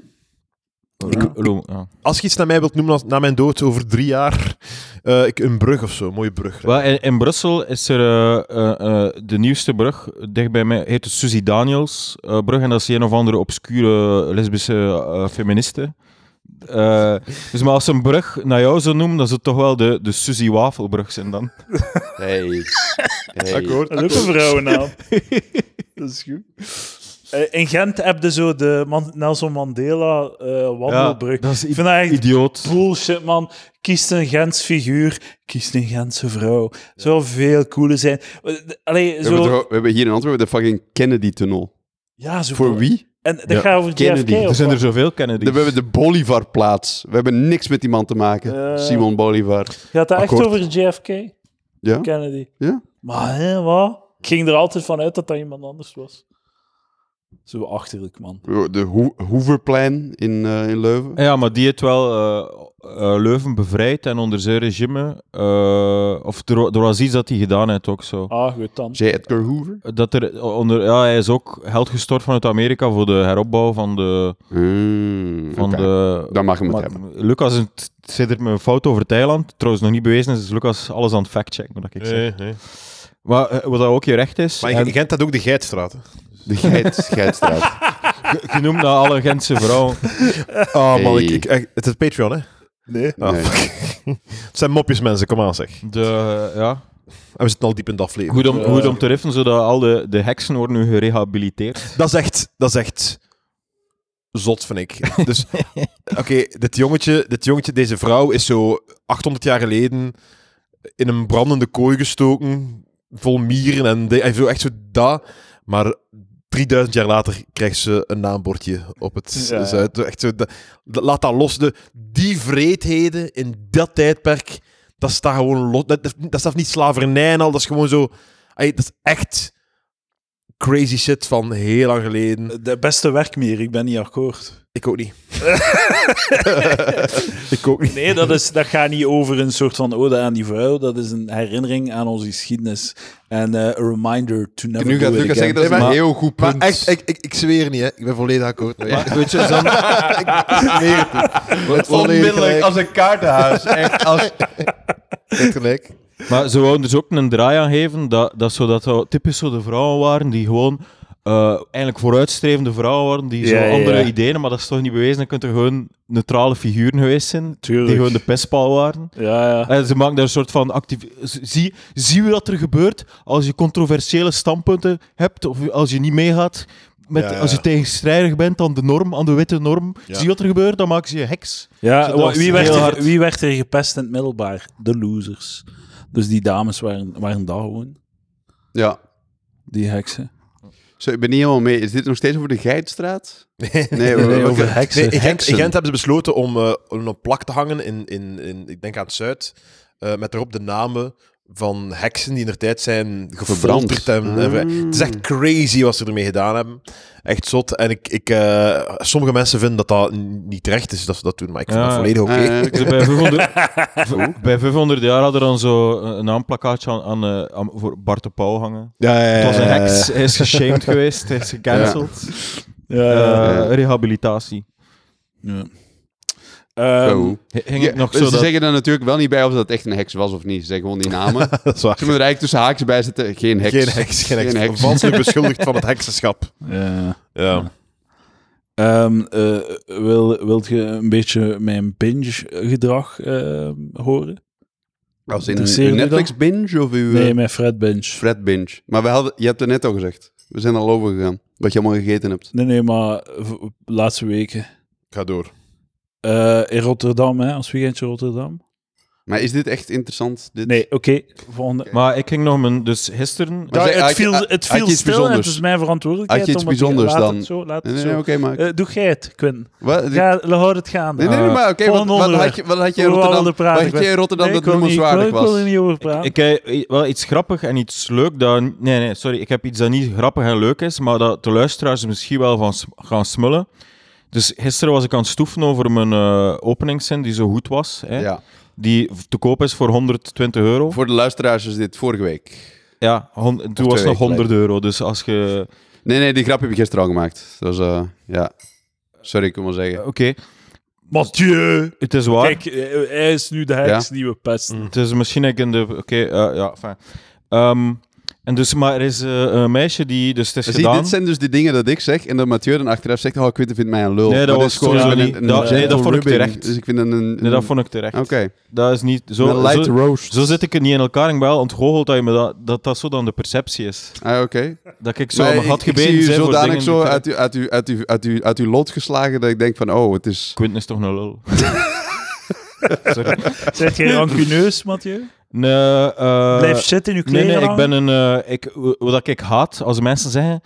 D: Lu- ja.
A: Als je iets naar mij wilt noemen als, na mijn dood over drie jaar, eh, ik, een brug of zo, een mooie brug.
D: Wel, in, in Brussel is er eh, eh, eh, de nieuwste brug, dicht bij mij, heet de Suzy Daniels eh, brug. En dat is een of andere obscure lesbische eh, feministe. Eh, dus maar als ze een brug naar jou zou noemen, dan zou het toch wel de, de Suzy Wafelbrug zijn dan.
C: Hey. Hey.
A: Akkoord.
B: Dat is ook een vrouwennaam. dat is goed. Eh, in Gent heb je zo de Man- Nelson Mandela eh, wandelbrug.
D: dat is
B: ik vind dat echt
D: idioot.
B: bullshit, man. Kies een Gens figuur, kies een Gentse vrouw. Zou veel cooler zijn. Eh, d- Allee,
C: We, hebben
B: zo...
C: toch ook- we hebben hier in Antwerpen de fucking Kennedy-tunnel.
B: Ja, zo
D: Oh,
C: Voor wie?
B: En dat
D: Ja,
B: gaat over
C: Kennedy.
B: JFK
D: Er
B: of
D: zijn er
B: wat?
D: zoveel
C: De-
D: Kennedy's.
C: we hebben de Bolivar-plaats. We hebben niks met die man te maken.
B: Eh.
C: Simon Bolivar.
B: Gaat dat echt
C: dus Akkoord.
B: over JFK?
C: Ja?
B: Kennedy.
C: Ja.
B: Maar hè, wat? Ik ging er altijd van uit dat dat iemand anders was. Zo achterlijk, man.
C: De Ho- Hooverplein in, eh, in Leuven.
D: Ja, maar die heeft wel eh, eh, Leuven bevrijd en onder zijn regime. eh, of er, wa- er was iets dat hij gedaan heeft ook zo.
B: Ah, goed dan.
C: J. Edgar Hoover.
D: Dat er onder, ja, hij is ook held gestort vanuit Amerika voor de heropbouw van de.
C: Hmm,
D: Van
C: oké.
D: de
C: Dan mag hem het
D: maar
C: hebben.
D: Lucas is- het zit er met een fout over Thailand. Trouwens, nog niet bewezen is, dus Lucas alles aan het factchecken. Wat ik zeg.
A: Nee, nee.
D: Maar eh, wat dat ook je recht is.
A: Maar in
D: en
A: Gent had ook de Geitstraat. hè.
C: De geit, Geitstraat.
D: ge- genoemd naar alle Gentse vrouwen.
A: Oh man,
C: Hey.
A: ik, ik, echt, het is Patreon, hè?
B: Nee.
A: Ah,
C: Nee.
A: fuck. het zijn mopjes, mensen. Kom aan, zeg.
D: De, ja.
A: En we zitten al diep in de aflevering.
D: goed, om,
B: Ja.
D: goed om te riffen, zodat al de, de heksen worden nu gerehabiliteerd.
A: Dat is echt, dat is echt zot, vind ik. Dus, oké, dit, jongetje, dit jongetje, deze vrouw is zo 800 jaar geleden in een brandende kooi gestoken, vol mieren en de, hij wil echt zo dat, maar 3000 jaar later krijgt ze een naambordje op het
B: Ja.
A: zuid. Echt zo, dat- dat- laat dat los. De, die vreedheden in dat tijdperk, dat staat gewoon los. Dat, dat, dat staat niet slavernij en al, dat is gewoon zo... ey, dat is echt crazy shit van heel lang geleden.
B: De beste werkmeer, ik ben niet akkoord.
A: Ik ook niet. ik ook niet.
B: Nee, dat, is, dat gaat niet over een soort van ode aan die vrouw. Dat is een herinnering aan onze geschiedenis. En eh, a reminder to never
C: Nu
B: do
C: gaat
B: it
C: Lucas
B: again.
C: zeggen dat is een
A: Maar-
C: heel goed
A: Maar
C: punt.
A: echt, ik, ik, ik zweer niet, hè. Ik ben volledig akkoord. Maar,
D: Maar, weet je, dan,
A: Onmiddellijk
C: als een kaartenhuis. Echt als...
A: gelijk.
D: Maar ze wouden dus ook een draai aan geven, dat, dat, zo, dat dat typisch zo de vrouwen waren die gewoon eh, eigenlijk vooruitstrevende vrouwen waren, die zo
B: Ja, ja,
D: andere
B: ja.
D: ideeën, maar dat is toch niet bewezen, dan kunt er gewoon neutrale figuren geweest zijn,
B: Tuurlijk.
D: die gewoon de pestpaal waren.
B: Ja, ja.
D: En ze maken daar een soort van actief... z- Zie, zie je wat er gebeurt als je controversiële standpunten hebt, of als je niet meegaat, met,
A: Ja, ja.
D: als je tegenstrijdig bent aan de norm, aan de witte norm.
A: Ja.
D: Zie je wat er gebeurt, dan maken ze je heks.
B: ja
D: Zodat
B: wa- wie, werd
D: heel
B: er,
D: hard-
B: wie werd er gepest in het middelbaar? De losers. Dus die dames waren, waren daar gewoon.
C: Ja.
B: Die heksen.
C: Zo, ik ben niet helemaal mee. Is dit nog steeds over de Geitstraat? Nee, we-
B: Nee,
C: we-
B: over heksen.
A: Nee, in, Gent,
B: Heksen.
A: in Gent hebben ze besloten om eh, om een plak te hangen in, in, in ik denk aan het zuid, eh, met daarop de namen van heksen die in der tijd zijn gefolterd. En,
C: Verbrand.
A: en ver-
C: Ah.
A: Het is echt crazy wat ze ermee gedaan hebben. Echt zot. En ik, ik, eh, sommige mensen vinden dat dat niet terecht is dat ze dat doen, maar ik vind
D: Ja.
A: dat volledig oké.
C: Eh,
D: Dus bij 500, v- bij 500 jaar hadden we dan zo een aanplakkaatje aan, aan, eh, aan- voor Bart de Pauw hangen.
A: ja, ja, ja,
D: Het was een
C: Eh.
A: ja, ja.
D: heks, hij is geshamed geweest, hij is gecanceld.
B: Ja,
D: Eh,
B: ja.
D: rehabilitatie.
B: Ja. Ehm,
C: Eh, Zo.
D: H- Ging
C: Ja,
D: ik nog
C: ze
D: zo dat...
C: zeggen er natuurlijk wel niet bij of dat echt een heks was of niet. Ze zeggen gewoon die namen.
A: Dat is waar.
C: Ze moeten er eigenlijk tussen haakjes bij zetten. Geen heks.
A: Geen heks, geen heks.
C: Geen heks.
A: Valselijk beschuldigd van het heksenschap.
B: ja.
A: Ja.
B: Ehm, eh, wil, wilt je een beetje mijn binge-gedrag ehm, horen?
C: Als in
B: Interesseert
C: een
B: u dat?
C: Netflix-binge of uw eh,
B: Nee, mijn Fred binge.
C: Fred-binge? Maar we hadden, je hebt het net al gezegd. We zijn al overgegaan. Wat je allemaal gegeten hebt.
B: Nee, nee, maar v- laatste weken.
A: Ga door.
B: Eh, in Rotterdam, hè, als weekendje Rotterdam.
C: Maar is dit echt interessant? Dit?
B: Nee, oké, volgende.
D: Maar ik ging nog mijn... Dus gisteren...
C: Maar
B: Daar-
C: zei-
B: het
C: had je-
B: viel,
C: had-
B: het
C: had je
B: viel
C: iets
B: stil en het
C: bijzonders?
B: is mijn verantwoordelijkheid.
C: Had je iets
B: om het-
C: bijzonders
B: laat
C: dan?
B: Het zo, laat het
C: Nee, nee,
B: zo.
C: nee, oké, maar...
B: Eh, doe jij het, Quinn.
C: Wat?
B: Ga, houd het gaande.
C: Nee, nee, nee, maar oké, wat,
B: volgende
C: wat, had
B: onderwerp.
C: je, wat had je in
B: Hoe we
C: Rotterdam,
B: hadden praten,
C: wat had je in
B: Quinn.
C: Rotterdam
B: Nee,
C: dat
B: ik wil niet-
C: noemenswaardig
B: ik wil- Ik wil
C: was?
B: er niet over praten.
D: Ik heb i- wel iets grappig en iets leuk dat... Nee, nee, sorry. Ik heb iets dat niet grappig en leuk is, maar dat de luisteraars misschien wel van sm- gaan smullen. Dus gisteren was ik aan het stoeven over mijn eh openingszin, die zo goed was. Hè,
C: Ja.
D: Die v- te koop is voor 120 euro.
C: Voor de luisteraars is dit vorige week.
D: Ja, hon- toen was
C: twee
D: het nog
C: weken
D: 100 euro. Dus als je...
C: Nee, nee, die grap heb ik gisteren al gemaakt. Dat was, eh, ja. Sorry, ik wil maar zeggen.
D: Oké,
B: Mathieu!
D: het is waar.
B: Kijk, eh, hij
C: Mm.
B: is nu de heks die we pesten.
D: Het is misschien ik in de... Oké, eh, ja, fijn. Ehm, En dus, maar er is eh, een meisje die... Dus het is
C: Zie,
D: gedaan.
C: dit zijn dus die dingen dat ik zeg en dat Mathieu dan achteraf zegt, oh, Quinten vindt mij een lul.
D: Nee, dat
C: Maar dit
D: was
C: is
D: sowieso
C: een-
D: niet.
C: een
D: Dat- nee,
C: gentle
D: dat vond ik
C: rubbing.
D: terecht.
C: Dus ik vind een... een
D: Nee, dat vond ik terecht.
C: Oké.
D: Dat is niet... Zo,
C: een light
D: zo,
C: roast.
D: zo zit ik er niet in elkaar. Ik ben wel ontgoocheld dat, je me dat, dat dat zo dan de perceptie is.
C: Ah, oké.
D: Dat ik zo
C: Maar
D: had
C: ik-
D: gebeten
C: ik zie
D: zijn
C: u
D: voor dingen
C: zodanig
D: die
C: zo
D: ik-
C: uit uw, uit, uw, uit, uw, uit, uw, uit uw lot geslagen dat ik denk van, oh, het is...
D: Quinten is toch een lul. Sorry.
B: Zet jij rancuneus, Mathieu?
D: Nee, eh,
B: Blijf zitten in je
D: Nee,
B: kleren
D: nee, ik
B: hangen?
D: ben een... eh, ik, wat ik haat, als mensen zeggen...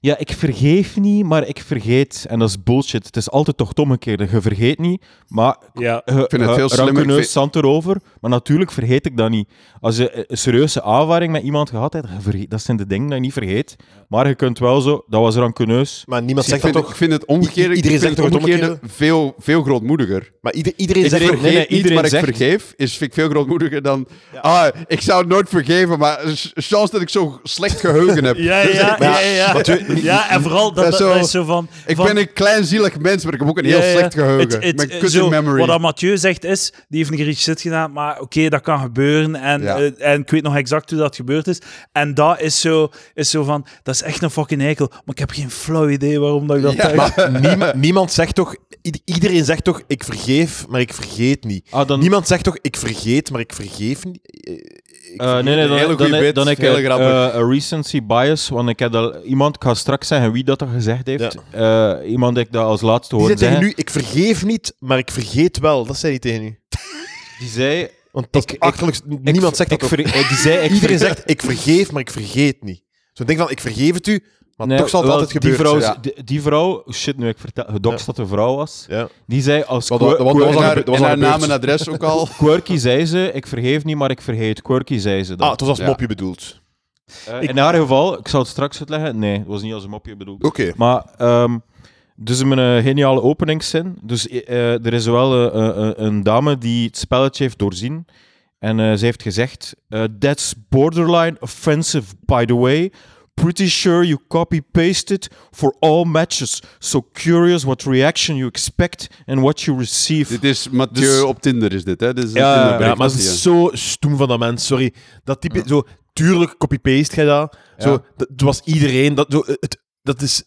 D: Ja, ik vergeef niet, maar ik vergeet. En dat is bullshit. Het is altijd toch het omgekeerde. Je vergeet niet, maar...
B: Ja.
D: Ik
C: vind het veel slimmer. Ik vind-
D: zand erover. Maar natuurlijk vergeet ik dat niet. Als je eh, een serieuze aanvaring met iemand gehad hebt, je vergeet- dat zijn de dingen die je niet vergeet. Maar je kunt wel zo... Dat was rancuneus.
A: Maar niemand
C: Ik
A: zegt dat
C: vind,
A: toch?
C: ik vind het omgekeerde,
A: I- iedereen
C: ik vind
A: zegt toch
C: het
A: het
C: omgekeerde veel, veel grootmoediger.
A: Maar ieder- iedereen
D: Ik
A: zegt
D: weet-
A: toch-
D: nee, nee,
C: Vergeet niet,
D: iedereen
C: maar ik
D: zegt-
C: vergeef, is, vind ik veel grootmoediger dan... Ah, ik zou het nooit vergeven, maar s- chance dat ik zo slecht geheugen heb.
B: Ja, ja, ja, ja.
A: Mathieu-
B: Ja, en vooral dat,
C: Dus Ja,
B: dat,
C: zo-
B: dat is zo van...
C: Ik
B: van,
C: ben een klein zielig mens, maar ik heb ook een heel
B: Ja, ja.
C: slecht geheugen.
B: Het- het-
C: Mijn kut
B: zo,
C: in memory.
B: Wat dat Mathieu zegt is, die heeft een grietje shit gedaan, maar oké, dat kan gebeuren. En,
C: Ja.
B: eh, en ik weet nog exact hoe dat gebeurd is. En dat is zo, is zo van, dat is echt een fucking eikel. Maar ik heb geen flauw idee waarom dat ik dat
C: Ja,
B: zeg.
A: Maar niem- niemand zegt toch... ied- Iedereen zegt toch, ik vergeef, maar ik vergeet niet.
D: Ah, dan,
A: Niemand zegt toch, ik vergeet, maar ik vergeef niet. Eh, ik
D: Eh, nee, nee, dan,
C: Hele
D: dan,
C: goeie
D: dan-
C: bit,
D: dan heb ik
C: hele
D: eh,
C: grappig.
D: eh, een recency bias, want ik heb al iemand, ik ga straks zeggen wie dat er gezegd heeft, Eh, iemand die ik dat als laatste
A: Die
D: hoorde
A: zei tegen
D: zeggen,
A: nu, ik vergeef niet, maar ik vergeet wel. Dat zei hij tegen u.
D: die zei,
A: Want dat is
D: Ik-
A: het
D: ik-
A: achterlijkste. niemand
D: ik,
A: zegt
D: ik,
A: dat
D: ver- eh, die zei, ik
A: Iedereen
D: ver-
A: zegt, ik vergeef, maar ik vergeet niet. Zo'n ding van, ik vergeef het u, maar
D: Nee,
A: toch zal het
D: wel,
A: altijd gebeuren.
D: Die vrouw,
A: zijn.
C: ja.
D: die, die vrouw, shit nu ik vertel, gedokst
A: Ja.
D: dat de vrouw was,
A: Ja. Ah,
D: die zei als
A: Wat- wat-
D: quir-
A: wat-
D: quir-
A: was
C: en
A: al
C: haar,
A: gebeurd- dat was
C: en
A: al
C: haar naam
A: gebeurd.
C: en adres ook al.
D: quirky zei ze, ik vergeef niet, maar ik vergeet, quirky zei ze
A: Ah,
D: dat.
A: het was als
C: Ja.
A: mopje bedoeld. Ah,
D: Eh,
B: ik-
D: in haar geval, ik zal het straks uitleggen, nee, het was niet als een mopje bedoeld.
A: Oké.
D: Maar, ehm, dus mijn eh, geniale openingszin. Dus eh, eh, er is wel eh, eh, eh, een dame die het spelletje heeft doorzien. En eh, ze heeft gezegd: eh, That's borderline offensive, by the way. Pretty sure you copy-pasted for all matches. So curious what reaction you expect and what you receive.
C: Dit is Mathieu
D: Dus-
C: op Tinder, is dit, hè? Dit is een
D: Ja,
C: Tinderbreuk,
A: Eh, Ja, maar
C: dat
A: het
C: is
A: is
C: die,
A: zo stoem van dat mens, sorry. Dat type, zo, tuurlijk copy-paste jij dat. Zo,
D: Ja.
A: dat, het was iedereen. Dat, zo, het, dat is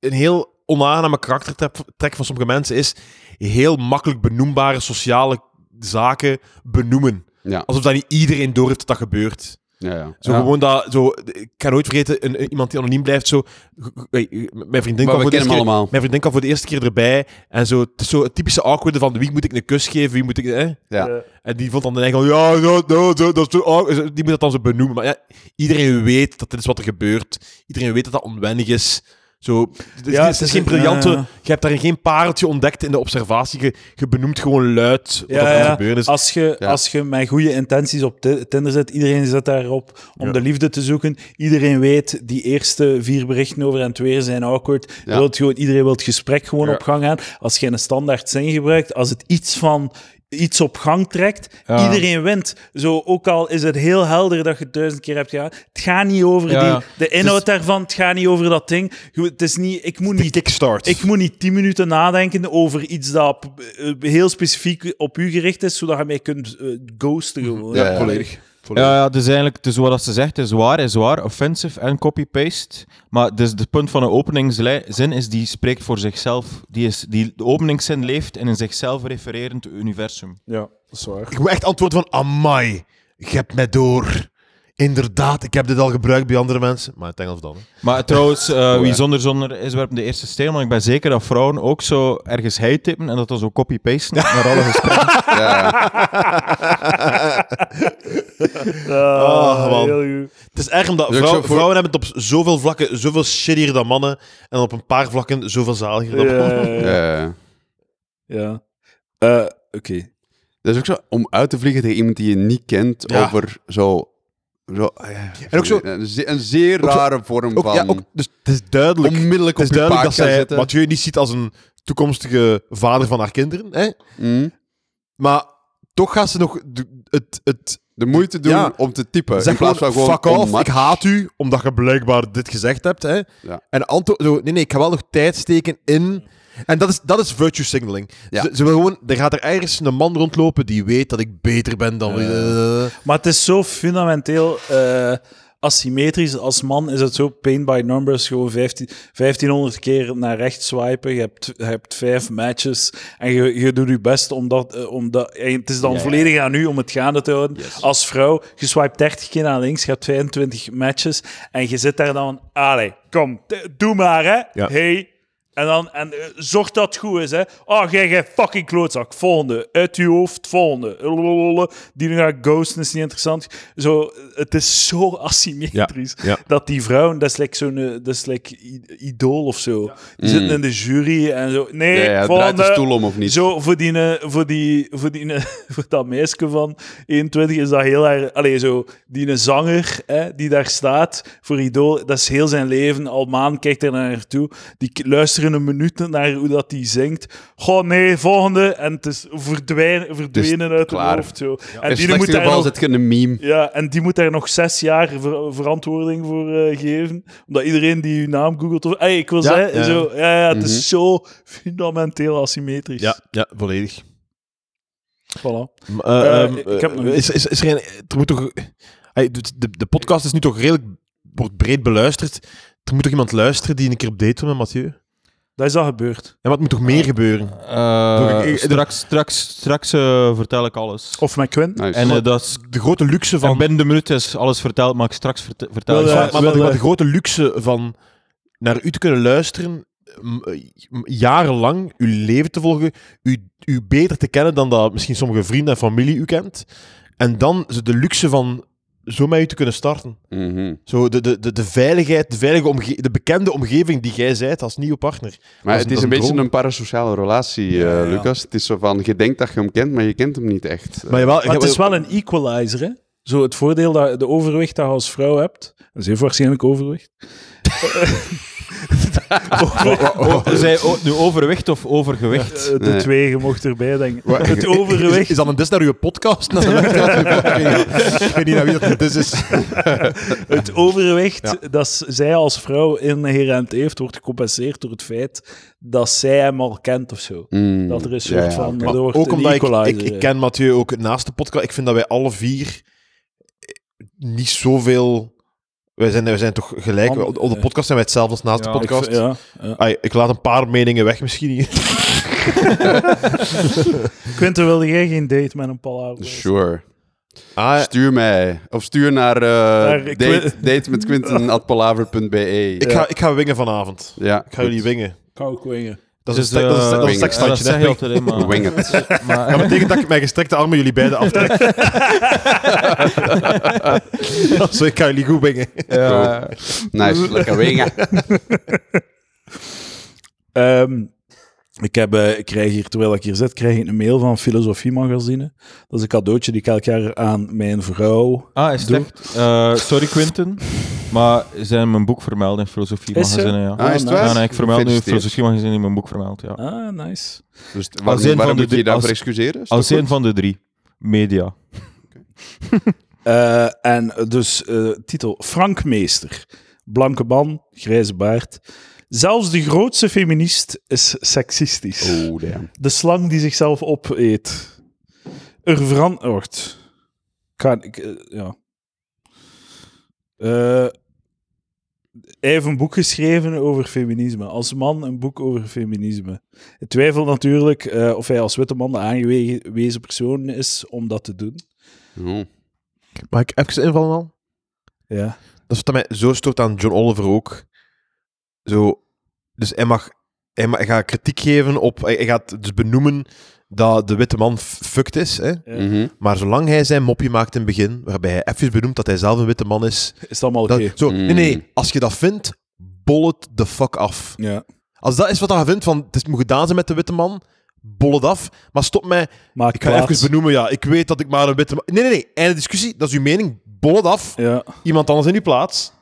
A: een heel onaangename karaktertrek van sommige mensen, is heel makkelijk benoembare sociale zaken benoemen.
C: hè. Ja,
A: Alsof dat niet iedereen door heeft dat dat gebeurt.
C: ja, ja.
A: Zo
C: Ja.
A: gewoon dat, zo, ik ga nooit vergeten, een, een- iemand die anoniem blijft, zo, g- g- hey, mijn vriendin
C: Maar
A: kwam
C: we
A: voor de
C: kennen hem
A: eerste keer,
C: allemaal.
A: mijn vriendin kwam voor de eerste keer erbij, en zo, het is zo het typische awkward van, wie moet ik een kus geven, wie moet ik, hè?
C: Ja.
B: Eh,
A: En die vond dan de eigen van, ja, zo, zo, zo, dat is zo, oh, zo, die moet dat dan zo benoemen. Maar ja, iedereen weet dat dit is wat er gebeurt. Iedereen weet dat dat onwennig is. Zo, het, is-
B: Ja,
A: het
B: het
A: is,
B: is
A: geen
B: een,
A: briljante...
B: eh,
A: Je hebt daar geen pareltje ontdekt in de observatie. Je, je benoemt gewoon luid wat
B: Ja,
A: er aan
B: ja.
A: het gebeuren is.
B: Als je,
C: Ja.
B: als je met goede intenties op Ti- Tinder zet, iedereen zet daarop om
A: Ja.
B: de liefde te zoeken. Iedereen weet, die eerste vier berichten over en het weer zijn awkward.
C: Ja.
B: Wilt gewoon, iedereen wil het gesprek gewoon
C: Ja.
B: op gang gaan. Als je een standaard zin gebruikt, als het iets van iets op gang trekt,
D: Ja.
B: iedereen wint. Zo, ook al is het heel helder dat je het duizend keer hebt gedaan. Het gaat niet over
D: Ja.
B: die, de inhoud daarvan, het gaat niet over dat ding. Je- Het is niet, ik moet
A: Die
B: niet
A: kickstart.
B: ik moet niet tien minuten nadenken over iets dat p- eh, heel specifiek op u gericht is, zodat je mij kunt eh, ghosten gewoon.
C: Ja, ja.
A: volledig. volledig.
D: Ja, ja, dus eigenlijk, dus wat dat ze zegt is waar, is waar. Offensive en copy-paste. Maar dus het punt van een openingszin is, die spreekt voor zichzelf. Die is, die, de openingszin leeft in een zichzelf refererend universum.
B: Ja, dat is waar.
A: Ik moet echt antwoorden van, amai, je hebt mij door. Inderdaad, ik heb dit al gebruikt bij andere mensen. Maar het Engels dan. hè.
D: Maar trouwens, eh, wie
C: ja.
D: zonder zonder is, werpt de eerste steen. Want ik ben zeker dat vrouwen ook zo ergens hij tippen en dat dan zo copy-pasten naar alle gesprekken.
C: Ja,
A: Ah, man.
B: Eh, heel goed.
A: Het is erg omdat
C: Dus ik
A: vrouw-
C: zou voor-
A: vrouwen hebben het op zoveel vlakken zoveel shittier dan mannen. En op een paar vlakken zoveel zaliger dan mannen.
B: Ja, ja, ja.
C: ja, ja.
B: Ja. Eh, Oké.
C: Dat is ook zo, om uit te vliegen tegen iemand die je niet kent
A: Ja.
C: over zo... zo ah, ja,
A: En ook zo-
C: Een, ze- een zeer
A: ook zo-
C: rare vorm
A: Ook,
C: van...
A: ja, ook, dus het is duidelijk, het
C: onmiddellijk
A: is
C: op je
A: duidelijk
C: paard
A: dat
C: gaan
A: zij
C: zitten.
A: Mathieu niet ziet als een toekomstige vader van haar kinderen. Hè?
C: Mm.
A: Maar toch gaat ze nog d- het, het
C: De moeite doen
A: Ja.
C: om te typen. Eh, in
A: zeg
C: plaats van
A: gewoon,
C: gewoon...
A: fuck
C: om
A: off,
C: maar-
A: ik haat u, omdat je blijkbaar dit gezegd hebt. Hè?
C: Ja.
A: En antwoord, zo, nee, nee, ik ga wel nog tijd steken in... En dat is, dat is virtue signaling.
C: Ja.
A: Ze, ze wil gewoon, er gaat er ergens een man rondlopen die weet dat ik beter ben dan...
B: Ja. Maar het is zo fundamenteel eh, asymmetrisch. Als man is het zo pain by numbers, gewoon 15, 1500 keer naar rechts swipen. Je hebt, je hebt vijf matches en je, je doet je best om dat... eh, om dat en het is dan volledig aan u om het gaande te houden. Als vrouw, je swipe 30 keer naar links, je hebt 25 matches en je zit daar dan... Allee, kom, t- doe maar, hè.
A: Ja.
B: Hey, en dan en, eh, zorg dat het goed is, hè. Oh, jij, jij fucking klootzak. Volgende. Uit je hoofd. Volgende. Lololol. Die nu gaat ghosten is niet interessant. Zo, het is zo asymmetrisch.
A: Ja, ja.
B: Dat die vrouwen, dat is like zo'n eh, dat is like i- idool of zo. Die zitten in de jury en zo. Nee,
C: Ja, ja, het
B: volgende.
C: draait de stoel om of niet.
B: Zo, voor, die, eh, voor, die, voor, die, eh, voor dat meisje van 21 is dat heel erg... Allee, zo, die een zanger hè, die daar staat voor Idool, dat is heel zijn leven. Al maand kijkt er naar naartoe. Die k- luisteren een minuut naar hoe dat die zingt. Goh, nee, volgende. En het is verdwijnen, verdwenen uit het
C: klaar.
B: hoofd. Zo.
C: En
B: En, die
C: slechts
B: moet
C: in
B: daar
C: geval
B: nog,
C: zit je een meme.
B: ja, en die moet daar nog zes jaar ver- verantwoording voor eh, geven. Omdat iedereen die uw naam googelt... Of, Ey, ik wil
A: Ja,
B: zeggen,
A: ja.
B: Zo, ja, ja, het is zo fundamenteel asymmetrisch.
A: Ja, ja, volledig.
B: Voilà.
A: M- eh,
B: Eh,
A: ehm,
B: ik heb nog
A: eh, is, is, is er een, er moet toch, Hey, de, de, de podcast is nu toch redelijk wordt breed beluisterd. Er moet toch iemand luisteren die een keer op date wil met Mathieu? En
B: Dat is al gebeurd.
A: wat moet toch meer gebeuren?
D: Eh,
A: Ik- ik-
D: straks straks, straks eh, vertel ik alles.
B: Of met
A: Nou,
B: Quinn.
C: Nice.
D: en eh, dat is,
A: De grote luxe
D: van
A: van.
D: binnen de minuut is alles verteld, maar ik straks verte- vertel ik
B: Wel, eh,
A: maar,
D: alles.
A: maar- maar de,
B: wel,
A: maar de
B: eh,
A: grote luxe van naar u te kunnen luisteren, m- eh, m- jarenlang uw leven te volgen, u, u beter te kennen dan dat misschien sommige vrienden en familie u kent. En dan zo de luxe van zo met u te kunnen starten.
C: Mhm.
A: Zo de, de, de, de veiligheid, de, veilige omge de bekende omgeving die jij zijt als nieuwe partner.
C: Maar
A: Dat is-
C: het is
A: dat
C: een
A: is een
C: beetje
A: droom.
C: een parasociale relatie, eh,
B: Ja, ja.
C: Lucas. Het is zo van, je denkt dat je hem kent, maar je kent hem niet echt.
A: Maar, jawel,
B: Maar het
A: ja,
B: is wel een equalizer, hè? Zo het voordeel dat de overwicht dat je als vrouw hebt. Dat is heel waarschijnlijk overwicht.
D: Oh, zij o- nu overwicht of overgewicht?
B: Eh, De
C: Nee.
B: twee, je mocht erbij denken.
A: Wat-
B: Het
A: Is,
B: overwicht.
A: is dat een dis naar uw podcast? Naar de luisteraar? ik weet niet naar wie dat een dis is.
B: Het overwicht dat s- zij als vrouw inherent heeft, wordt gecompenseerd door het feit dat zij hem al kent of
A: Hmm.
B: zo.
C: Mm.
B: Dat er een
C: Ja,
B: soort
C: ja,
B: van.
C: oké.
B: dat wordt
A: ook
B: een
A: omdat ik,
B: equalizer,
A: ik, ik ken Mathieu ook naast de podcast. Ik vind dat wij alle vier eh, niet zoveel... Wij zijn, wij zijn toch gelijk.
B: Man,
A: Op op de
B: eh.
A: podcast zijn wij hetzelfde als naast
D: Ja,
A: de
B: Ik-
A: podcast.
B: ja, ja.
A: Ai, ik laat een paar meningen weg misschien. hier.
B: Quinten, wilde jij geen date met een palaver?
C: Sure.
A: Ah,
C: Stuur mij. Of stuur naar eh,
B: ik
C: date,
B: wil-
C: date met Quinten at palaver.be.
A: ik, ga, ik ga wingen vanavond.
C: Ja,
A: Ik ga jullie
C: goed.
A: wingen.
B: Koukwingen.
A: Dat is
D: Dus,
A: een stek- dat is een
D: eh,
A: stek- dat is een sekstandje.
C: wingen.
D: dat zeg je
A: hè.
D: altijd, hè, maar...
C: Wing it.
D: Maar-
A: Dat betekent dat ik mijn gestrekte armen jullie beiden aftrek. Zo, ik ga jullie goed wingen.
D: Ja.
C: Nice, lekker wingen.
B: Ehm, ik, heb, eh, ik krijg hier, terwijl ik hier zit, krijg ik een mail van Filosofie Magazine. Dat is een cadeautje die ik elk jaar aan mijn vrouw...
D: Ah, is het
B: Doe.
D: echt? Eh, sorry Quinten, maar ze hebben mijn boek vermeld in filosofie
B: Is ze?
D: magazine. Ja.
C: Ah, is het
B: Ah,
C: waar?
D: Ja, nee, nou, ik vermeld nu
C: Gefeliciteerd.
D: filosofie magazine in mijn boek vermeld. Ja.
B: Ah, nice.
C: Dus waar-
D: Als een
C: waarom
D: van de
C: moet je
D: drie-
C: je daarvoor
D: als-
C: excuseren? Is
D: Als
C: dat
D: een
C: goed?
D: van de drie. Media.
B: Eh, en dus, eh, titel Frank Meester. Blanke man, grijze baard. Zelfs de grootste feminist is seksistisch.
C: Oh, damn.
B: De slang die zichzelf opeet. Er verantwoord. Kan ik, eh, ja. Eh, hij heeft een boek geschreven over feminisme. Als man een boek over feminisme. Ik twijfel natuurlijk eh, of hij als witte man de aangewezen persoon is om dat te doen.
C: Oh.
A: Mag ik even invallen al?
B: Ja.
A: Dat is wat mij zo stoort aan John Oliver ook. Zo, dus hij mag, hij ma- hij gaat kritiek geven op, hij, hij gaat dus benoemen dat de witte man f- fucked is. Hè?
C: Mhm.
A: Maar zolang hij zijn mopje maakt in het begin, waarbij hij even benoemt dat hij zelf een witte man is.
B: Is dat allemaal oké?
A: Dat, zo, nee,
C: Mm.
A: nee, als je dat vindt, bol het de fuck af.
B: Ja.
A: Als dat is wat hij vindt, van het is, moet gedaan zijn met de witte man, bol het af. Maar stop mij,
B: Maak
A: ik ga
B: plaats.
A: even benoemen, ja, ik weet dat ik maar een witte man... Nee, nee, nee, einde discussie, dat is uw mening, bol het af.
B: Ja.
A: Iemand anders in uw plaats.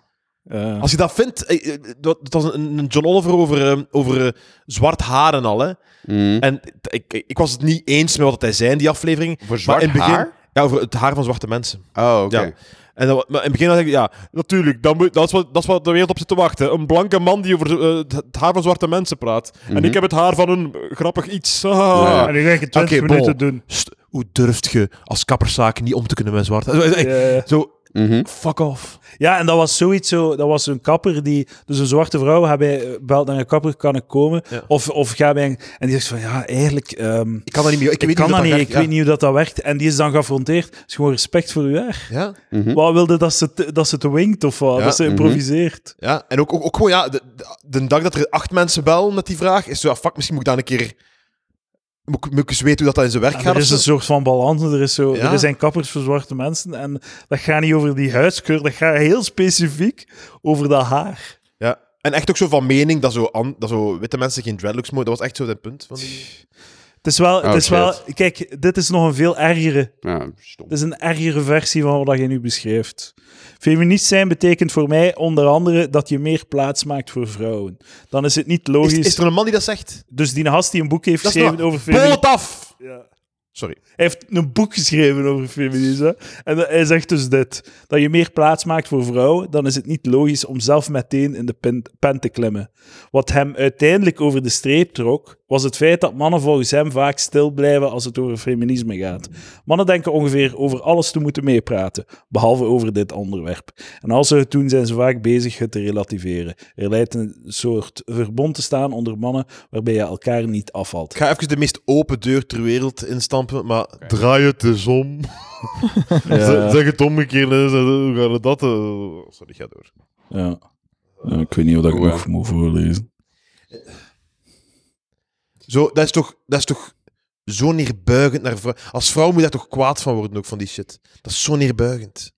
B: ja.
A: Als je dat vindt, eh, eh, dat het was een een John Oliver over, eh, over eh, zwart haar en al. Hè.
C: Mhm.
A: En t- ik, ik ik was het niet eens met wat hij zei in die aflevering.
C: Voor zwart
A: maar in het begin,
C: haar?
A: Ja, over het haar van zwarte mensen.
C: Oh, oké.
A: Ja. En dan, maar in het begin dacht ik, ja, natuurlijk, dat, moet, dat, is wat, dat is wat de wereld op zit te wachten. Een blanke man die over eh, het- het haar van zwarte mensen praat. En
C: Mhm.
A: ik heb het haar van een eh, grappig iets. Ah.
C: Ja.
B: En nu ga ik het 20
A: Oké,
B: minuten
A: bol.
B: doen.
A: St- hoe durft je als kapperszaak niet om te kunnen met zwart? Zo, eh,
B: Ja, ja.
A: Zo,
C: Mhm.
B: Fuck off. Ja, en dat was zoiets zo. Dat was een kapper die. Dus een zwarte vrouw gaat bij, eh, belt naar een kapper, kan ik komen?
A: Ja.
B: Of, of ga bij een. En die zegt van ja, eigenlijk. ehm,
A: Ik kan dat niet meer. Ik,
B: ik
A: weet
B: kan
A: niet
B: dat
A: hoe
B: niet,
A: dat
B: ik
A: werkt.
B: weet niet hoe dat, dat werkt. En die is dan geaffronteerd. Dus gewoon respect voor u haar.
A: Ja. Ja?
C: Mhm.
B: Wat wilde dat ze, te- dat ze te winkt of wat?
A: Ja,
B: Dat ze
C: mhm.
B: improviseert.
A: Ja, en ook, ook, ook gewoon, ja, de, de, de dag dat er acht mensen bellen met die vraag, is zo, ah, fuck, misschien moet ik daar een keer... Moet, ik- moet ik eens weten hoe dat dan in zijn werk gaat?
B: Ah, er
A: of
B: is
A: zo.
B: een soort van balans. Er, is zo,
A: Ja.
B: er zijn kappers voor zwarte mensen. En dat gaat niet over die huidskleur. Dat gaat heel specifiek over dat haar.
A: Ja. En echt ook zo van mening dat zo, an- dat zo witte mensen geen dreadlocks mogen. Dat was echt zo dat punt. Van die...
B: Het is wel...
C: Oh,
B: het is
C: shit.
B: wel kijk, dit is nog een veel ergere...
C: Ja, stom.
B: Dit is een ergere versie van wat je nu beschrijft. Feminist zijn betekent voor mij onder andere dat je meer plaats maakt voor vrouwen. Dan is het niet
A: is,
B: logisch.
A: is er een man die dat zegt?
B: Dus die gast die een boek heeft
A: Dat is
B: geschreven
A: nog-
B: over feminisme.
A: Poot af!
B: Ja.
A: Sorry.
B: Hij heeft een boek geschreven over feminisme. En dat- hij zegt dus dit. Dat je meer plaats maakt voor vrouwen, dan is het niet logisch om zelf meteen in de pen, pen te klimmen. Wat hem uiteindelijk over de streep trok, was het feit dat mannen volgens hem vaak stil blijven als het over feminisme gaat. Mannen denken ongeveer over alles te moeten meepraten, behalve over dit onderwerp. En als ze het doen, zijn ze vaak bezig het te relativeren. Er lijkt een soort verbond te staan onder mannen waarbij je elkaar niet afvalt.
A: Ik ga even de meest open deur ter wereld instampen, maar draai het eens om. Z- Zeg het omgekeerd eens en hoe gaat het dat? eh, Sorry, ga door.
B: Ja. ik weet niet of dat ik
C: Oeh,
B: nog moet voorlezen.
A: Zo, dat is toch, dat is toch zo neerbuigend naar vrouwen. Als vrouw moet je daar toch kwaad van worden, ook van die shit. Dat is zo neerbuigend.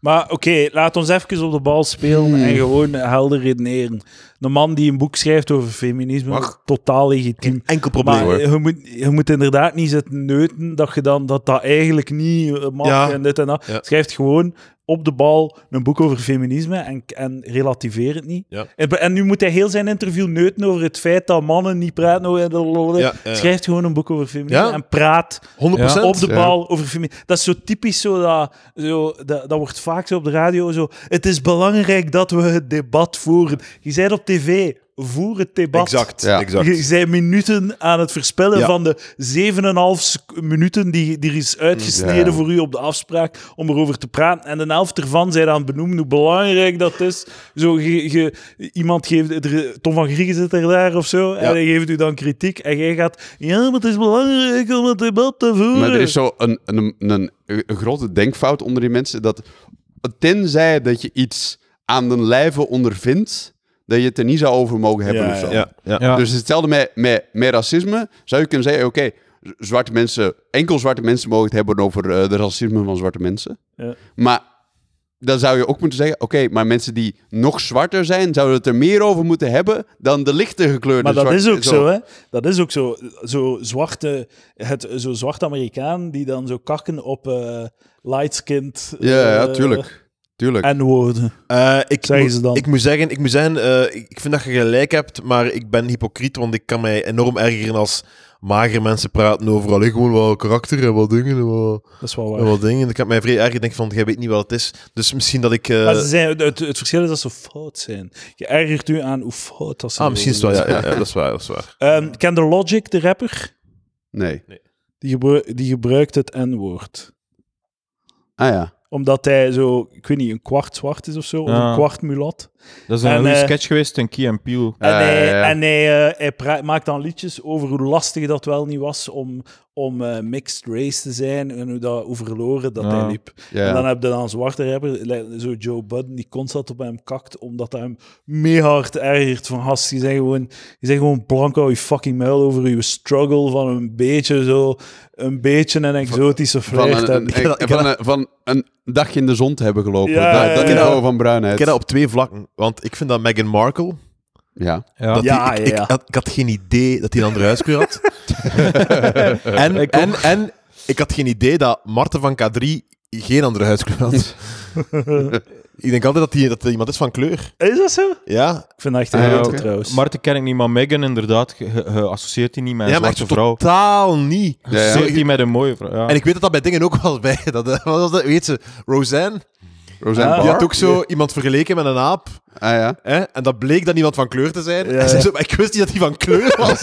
B: Maar oké, laat ons even op de bal spelen en gewoon helder redeneren. Een man die een boek schrijft over feminisme,
A: Mag.
B: totaal legitiem.
A: Enkel probleem.
B: Maar
C: hoor.
B: je moet, je moet inderdaad niet zitten neuten dat je dan, dat, dat eigenlijk niet eh, mag
A: Ja.
B: en dit en dat.
A: Ja.
B: Schrijf gewoon op de bal een boek over feminisme en, en relativeer het niet.
A: Ja.
B: En, en nu moet hij heel zijn interview neuten over het feit dat mannen niet praten. over-
A: Ja, ja.
B: Schrijf gewoon een boek over feminisme
A: Ja.
B: en praat
A: 100%.
D: Ja,
B: op de
C: ja.
B: bal over feminisme. Dat is zo typisch zo dat, zo dat, dat wordt vaak zo op de radio zo. Het is belangrijk dat we het debat voeren. Je zei op tv, voer het debat.
A: Exact,
C: Ja.
A: exact.
B: Je zei minuten aan het verspillen
A: Ja.
B: van de 7,5 sec- minuten die, die er is uitgesneden
C: Ja.
B: voor u op de afspraak om erover te praten. En een helft ervan zei dan benoemd hoe belangrijk dat is. Zo, je, je- iemand geeft, er, Tom van Grieken zit er daar of zo, en hij geeft u dan kritiek. En jij gaat, ja, maar het is belangrijk om het debat te voeren.
C: Maar er is zo een, een, een, een grote denkfout onder die mensen. Dat tenzij dat je iets aan den lijve ondervindt, dat je het er niet zou over mogen hebben
B: Ja,
C: of zo.
A: Ja, ja.
D: Ja.
C: Dus hetzelfde met, met, met racisme. Zou je kunnen zeggen, oké, z- zwarte mensen, enkel zwarte mensen mogen het hebben over eh, de racisme van zwarte mensen.
B: Ja.
C: Maar dan zou je ook moeten zeggen, oké, maar mensen die nog zwarter zijn, zouden het er meer over moeten hebben dan de lichter gekleurde
B: Maar dat
C: zwarte-
B: is ook zo, hè? Dat is ook zo. Zo zwarte, het, zo zwarte Amerikaan die dan zo kakken op eh lightskind.
C: Ja, ja,
B: eh,
C: tuurlijk. Tuurlijk.
B: En woorden.
A: Eh, ik,
B: Zeggen
A: moet-
B: ze dan.
A: ik moet zeggen, ik, moet zeggen eh, ik ik vind dat je gelijk hebt, maar ik ben hypocriet, want ik kan mij enorm ergeren als magere mensen praten over alleen gewoon wel karakter en wat dingen en wat,
B: Dat is wel
A: en
B: waar.
A: wat dingen. Ik heb mij vrij erg ik denk van, jij weet niet wat het is. Dus misschien dat ik... eh,
B: maar ze zijn, het, het verschil is dat ze fout zijn. Je ergert u aan hoe fout dat ze
A: ah, misschien is het wel,
B: woorden
A: ja, ja, ja, dat is waar, dat is waar.
B: zijn. Ehm, ken de Logic, de rapper?
C: Nee.
B: Die, gebru- die gebruikt het N-woord.
C: Ah ja.
B: Omdat hij zo, ik weet niet, een kwart zwart is of zo. Of
D: Ja.
B: een kwart mulat.
D: Dat is een
B: En,
D: goede
B: eh,
D: sketch geweest in Key and Peele.
C: Ja,
B: En, hij,
C: ja, ja.
B: en hij, eh, hij pra- maakt dan liedjes over hoe lastig dat wel niet was om, om eh, mixed race te zijn en hoe, dat, hoe verloren dat
D: Ja.
B: hij liep.
C: Ja.
B: En dan heb je dan een zwarte rapper, li- zo Joe Budden, die constant op hem kakt, omdat hij hem mega hard ergert. Van gast, je zegt gewoon, je zegt gewoon blanco je fucking muil over je struggle van een beetje zo, een beetje een exotische
C: Van
B: vrijheid.
C: een, een-
A: Ik heb dat-
C: van, een, van een dagje in de zon te hebben gelopen.
B: Ja,
C: dat
B: ja,
C: dat
B: ja.
C: niveau van bruinheid.
A: Ik ken dat op twee vlakken, want ik vind dat Meghan Markle...
C: Ja.
D: Ja.
A: Dat
B: Ja,
A: die-
B: ja,
A: ik,
B: ja.
A: Ik, had, ik had geen idee dat hij een andere huiskleur had. en,
D: Ik
A: en, en ik had geen idee dat Marten van K3 geen andere huiskleur had. ik denk altijd dat hij dat hij iemand is van kleur.
B: Is dat zo?
A: Ja,
B: Ik vind dat echt
C: Ah, ja,
B: heel
C: oké.
B: trouwens.
D: Marten ken ik niet, maar Megan inderdaad, ge- ge- geassocieert hij niet met een
A: ja maar
D: zwarte
A: echt
D: vrouw.
A: totaal niet.
C: Ja, ja.
D: Associeert hij met een mooie vrouw. Ja.
A: En ik weet dat dat bij dingen ook wel bij. Dat, eh, wat was dat, weet ze, Roseanne.
C: Roseanne
B: Ah.
C: Barr.
A: Die had ook zo iemand vergeleken met een aap.
C: Ah ja.
A: Hè? En dat bleek dan iemand van kleur te zijn.
B: Ja.
A: En zei zo, maar ik wist niet dat hij van kleur was.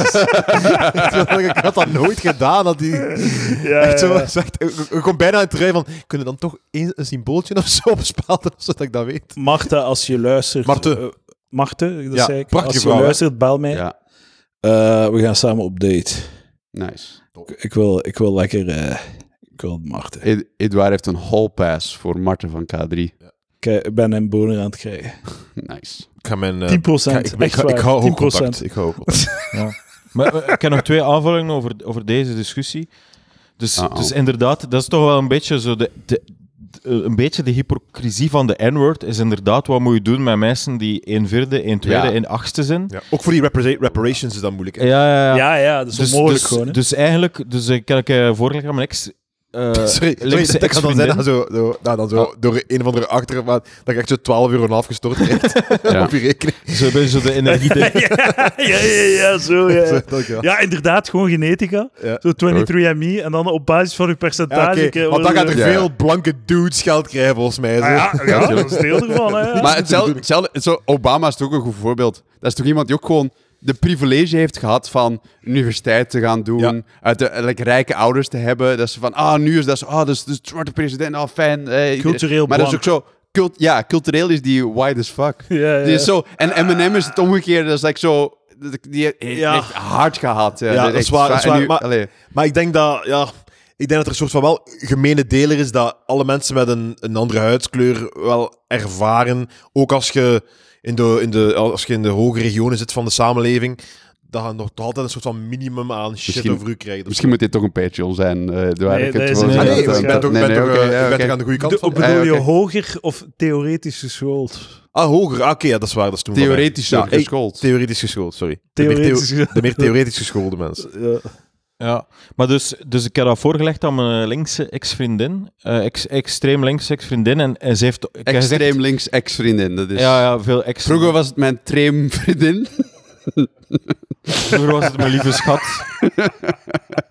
A: ik had dat nooit gedaan. Dat die,
B: Ja,
A: echt zo,
B: ja, ja.
A: zegt, ik ik kom bijna uit het rij van, kunnen we dan toch eens een symbooltje of zo opspelden, zodat ik dat weet?
B: Marta, als je luistert...
A: Marte.
B: eh, Marte, dat
A: Ja,
B: zei ik.
A: prachtige
B: Als je
A: vrouw, hè?
B: luistert, bel mij.
C: Ja,
B: Eh, we gaan samen op date.
C: nice.
B: Ik, ik wil, ik wil lekker... eh, ik wil Marten.
C: Ed- Edouard heeft een hall pass voor Marten van K3.
B: Kijk, ik eh, ben een boner aan het krijgen.
C: Nice.
A: Ik ga mijn... eh,
B: 10%.
A: ik, ik,
B: echt
A: ik,
B: waar,
A: hou
B: 10%.
A: contact. Ik hou
D: Maar eh, ik heb nog twee aanvullingen over, over deze discussie. Dus,
A: Ah,
C: Uh-oh.
D: dus inderdaad, dat is toch wel een beetje zo de, de- de- eh, een beetje de hypocrisie van de N-word is inderdaad wat moet je doen met mensen die 1 vierde, 1 tweede,
C: Ja.
D: 1 achtste zijn.
A: ja. Ook voor die repara- reparations is dat moeilijk. hè.
D: ja, ja.
B: Ja, ja, dat is
D: Dus,
B: onmogelijk
D: dus,
B: gewoon. hè.
D: dus eigenlijk, dus ik heb eh, vorige keer aan mijn ex... eh,
A: Sorry, sorry
D: linkse
A: dat kan dan
D: ex-vriendin-
A: zijn dat zo, zo, nou, dan zo door een of andere achter, maar dat ik echt zo 12 euro en een half gestort krijg
C: Ja.
A: op je rekening.
D: Zo ben je zo de energie...
B: ja, ja, ja, ja, zo.
A: dus- Zo,
B: Ja.
A: dat ik, ja.
B: ja, inderdaad, gewoon genetica.
A: Ja.
B: Zo 23andMe en dan op basis van uw
A: Ja,
B: percentage.
A: oké,
B: eh,
A: want dan
B: worden-
A: gaat er
C: Ja.
A: veel blanke dudes geld krijgen, volgens mij. Zo.
B: Ah, ja, ja, dat is deel ervan. Hè. ja.
C: Maar hetzelfde, hetzelfde- zo, Obama is toch ook een goed voorbeeld. Dat is toch iemand die ook gewoon de privilege heeft gehad van universiteit te gaan doen,
A: Ja.
C: uit de, like, rijke ouders te hebben. Dat ze van, ah, nu is dat zo, ah, dat is de zwarte president, ah, fijn. eh, iedereen-
B: Cultureel
C: Maar dat is ook zo, cult, ja, cultureel is die wide as fuck.
B: Ja, ja.
C: Die is zo, en Eminem is het omgekeerde, dat is like zo, dat- die heeft
B: Ja.
C: echt hard gehad. Ja,
A: dat is waar, dat is
C: en
A: waar,
C: nu-
A: maar-
C: allee,
A: Maar ik denk dat, ja, ik denk dat er een soort van wel gemene deler is dat alle mensen met een, een andere huidskleur wel ervaren. Ook als je in de, in de, als je in de hoge regionen zit van de samenleving, dat je nog toch altijd een soort van minimum aan shit
C: Misschien-
A: over u krijgt.
C: misschien moet dit toch een Patreon zijn. eh Eduard.
B: Nee,
C: Ik heb
B: dat
C: het
B: is
C: gewoon
B: het
A: Ah,
B: niet.
C: gezegd,
A: nee,
B: Ja,
A: ik
C: eh,
A: ben toch, ik ben
C: nee,
A: toch,
C: oké,
A: eh, ik
C: ja,
A: ben
C: oké.
A: toch aan de goede kant
B: De-
A: van.
B: bedoel je
C: oké.
B: hoger of theoretisch geschoold?
A: Ah, hoger. Ah, oké, ja, dat is waar. Dat is toen wel
C: Theoretisch
A: waar. Ja, ik-
C: geschoold.
A: Theoretisch geschoold, sorry.
B: Theoretisch
A: De meer, theo- de meer theoretisch geschoolde mensen.
B: Ja.
D: Ja, maar dus, dus ik heb dat voorgelegd aan mijn linkse ex-vriendin. eh, ex, extreem linkse ex-vriendin. En, en ze heeft... ik heb gezegd-
C: Extreem links ex-vriendin. Dat is...
D: Ja, ja, veel ex.
C: Vroeger was het mijn tramvriendin.
D: Vroeger was het mijn lieve schat.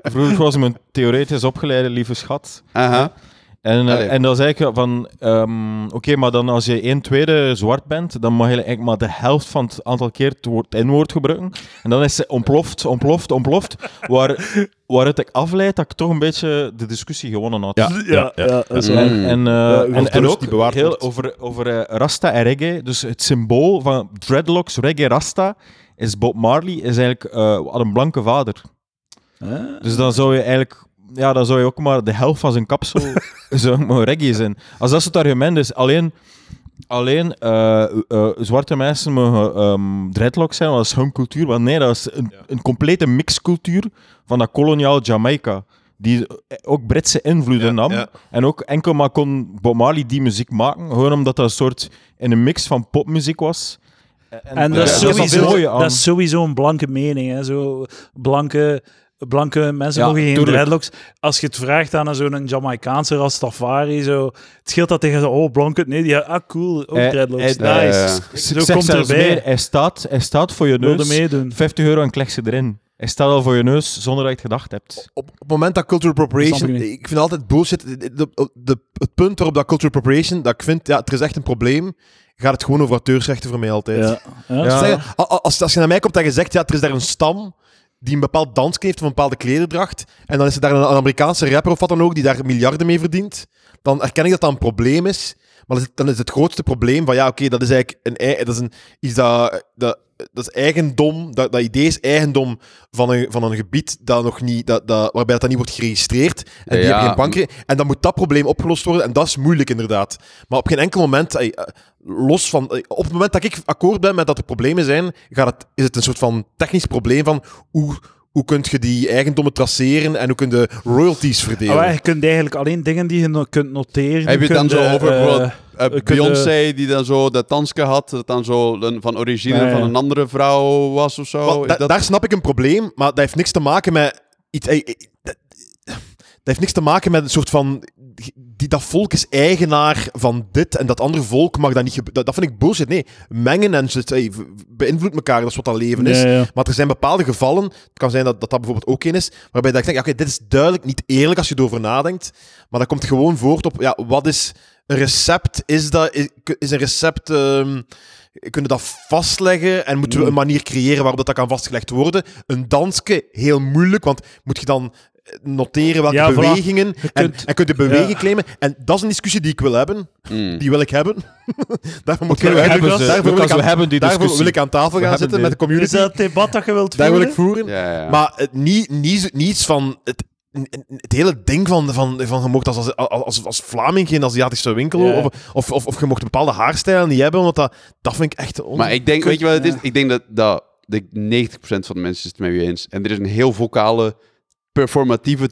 D: Vroeger was het mijn theoretisch opgeleide lieve schat.
C: Aha.
D: En,
C: Allee.
D: eh, en dan zei ik van, ehm, oké, maar dan als je 1 tweede zwart bent, dan mag je eigenlijk maar de helft van het aantal keer het woord N-woord gebruiken. En dan is ze ontploft, ontploft, ontploft. Waar, waaruit ik afleid dat ik toch een beetje de discussie gewonnen had.
A: Ja,
B: Ja, ja, dat is
C: Mm.
B: waar.
D: En, eh,
B: Ja,
D: en,
B: hoeft
D: en
A: dus
D: ook
A: die bewaard
D: heel
A: wordt.
D: over, over eh, Rasta en reggae. Dus het symbool van dreadlocks, reggae, Rasta is Bob Marley, is eigenlijk eh, had een blanke vader.
B: Hè?
D: Dus dan zou je eigenlijk, ja, dan zou je ook maar de helft van zijn kapsel zou maar reggae zijn. Als dat is het argument is, alleen, alleen eh, eh, zwarte mensen mogen ehm, dreadlocks zijn, want dat is hun cultuur. Want nee, dat is een, een complete mixcultuur van dat koloniaal Jamaica. Die ook Britse invloeden nam.
A: ja.
D: En ook enkel maar kon Bob Marley die muziek maken. Gewoon omdat dat een soort in een mix van popmuziek was.
B: En dat, is
A: Ja, dat is
B: sowieso,
A: wel
D: mooi aan.
B: dat is sowieso een blanke mening. Hè? Zo blanke, blanke mensen
D: Ja,
B: mogen geen
D: tuurlijk.
B: dreadlocks. Als je het vraagt aan zo'n Jamaicaanse Rastafari, zo, het scheelt dat tegen zo, oh, blanke, nee, die, ah, cool, ook
D: Eh,
B: dreadlocks,
D: eh,
B: nice.
C: eh,
B: zo
D: Zeg
B: komt
D: zelfs
B: erbij.
D: meer, hij staat, hij staat voor je
B: wilde
D: neus.
B: meedoen.
D: 50 euro en krijg ze erin. Hij staat al voor je neus zonder dat je het gedacht hebt.
A: Op, op het moment dat cultural
B: Dat
A: appropriation...
B: snap ik
A: Ik, vind altijd bullshit... de- de- de- het punt waarop dat cultural appropriation... Dat ik vind, ja, er is echt een probleem. Gaat het gewoon over auteursrechten voor mij altijd.
B: Ja. Ja.
D: Ja.
A: Zeg, a- a- als, als je naar mij komt en je zegt... Ja, er is daar een stam die een bepaald danskleed heeft of een bepaalde klederdracht. En dan is er daar een, een Amerikaanse rapper of wat dan ook die daar miljarden mee verdient. Dan erken ik dat dat een probleem is. Maar dan is het, dan is het grootste probleem van ja, oké, dat is eigenlijk een, ei- dat is een, iets dat, dat, dat is eigendom, dat, dat idee is eigendom van een, van een gebied dat nog niet, dat, dat, waarbij dat dan niet wordt geregistreerd. En die
C: Ja.
A: hebben geen bankre- En dan moet dat probleem opgelost worden. En dat is moeilijk inderdaad. Maar op geen enkel moment, ey, eh, los van, ey, op het moment dat ik akkoord ben met dat er problemen zijn, gaat het, is het een soort van technisch probleem van hoe, hoe kun je die eigendommen traceren en hoe kun je royalties verdelen.
B: Maar Ah, je kunt eigenlijk alleen dingen die je no- kunt noteren.
C: Heb je het dan
B: kunt,
C: zo
B: eh,
C: over
B: eh,
C: bijvoorbeeld eh,
B: we kunnen-
C: Beyoncé, die dan zo dat danske had, dat dan zo een, van origine
B: Nee.
C: van een andere vrouw was of zo?
A: Wel,
C: Is
A: da-
C: dat...
A: Daar snap ik een probleem, maar dat heeft niks te maken met iets. ey, ey, dat- heeft niks te maken met een soort van... Die, dat volk is eigenaar van dit en dat andere volk mag dat niet gebeuren. Dat, dat vind ik bullshit. Nee, mengen en shit, hey, beïnvloedt elkaar, dat is wat dat leven is.
B: Ja, ja.
A: Maar er zijn bepaalde gevallen, het kan zijn dat dat, dat bijvoorbeeld ook één is, waarbij dat ik denk, ja, oké, dit is duidelijk niet eerlijk als je erover nadenkt, maar dat komt gewoon voort op, ja, wat is een recept? Is, dat, is, is een recept, ehm, kunnen we dat vastleggen en moeten we een manier creëren waarop dat, dat kan vastgelegd worden? Een dansje, heel moeilijk, want moet je dan eh, noteren welke
B: Ja, voilà.
A: bewegingen
B: Je
A: en,
B: kunt-
A: en kun je beweging
B: ja.
A: claimen? En dat is een discussie die ik wil hebben,
C: Hmm.
A: die wil ik hebben. daarvoor moet
D: Oké, Hm. we
A: ik,
D: hebben
A: daarvoor
D: ze.
A: wil ik
D: Lucas,
A: aan-
D: we hebben die
A: daarvoor
D: discussie.
A: wil ik aan tafel gaan
D: hebben
A: zitten
D: dit.
A: met de community.
B: Is dat het debat dat je wilt
A: Daar wil ik
B: voeren?
A: voeren.
C: Ja, ja, ja.
A: Maar het, niet, niet, niets van het, het hele ding van, van, van je mocht als, als, als, als Vlaming geen Aziatische winkel
B: Ja.
A: of, of, of, of je mocht bepaalde haarstijlen niet hebben, want dat, dat vind ik echt on...
C: Maar ik denk, weet je wat het is? Ik denk dat, dat, dat ik 90% van de mensen is het mee eens. En er is een heel vocale, performatieve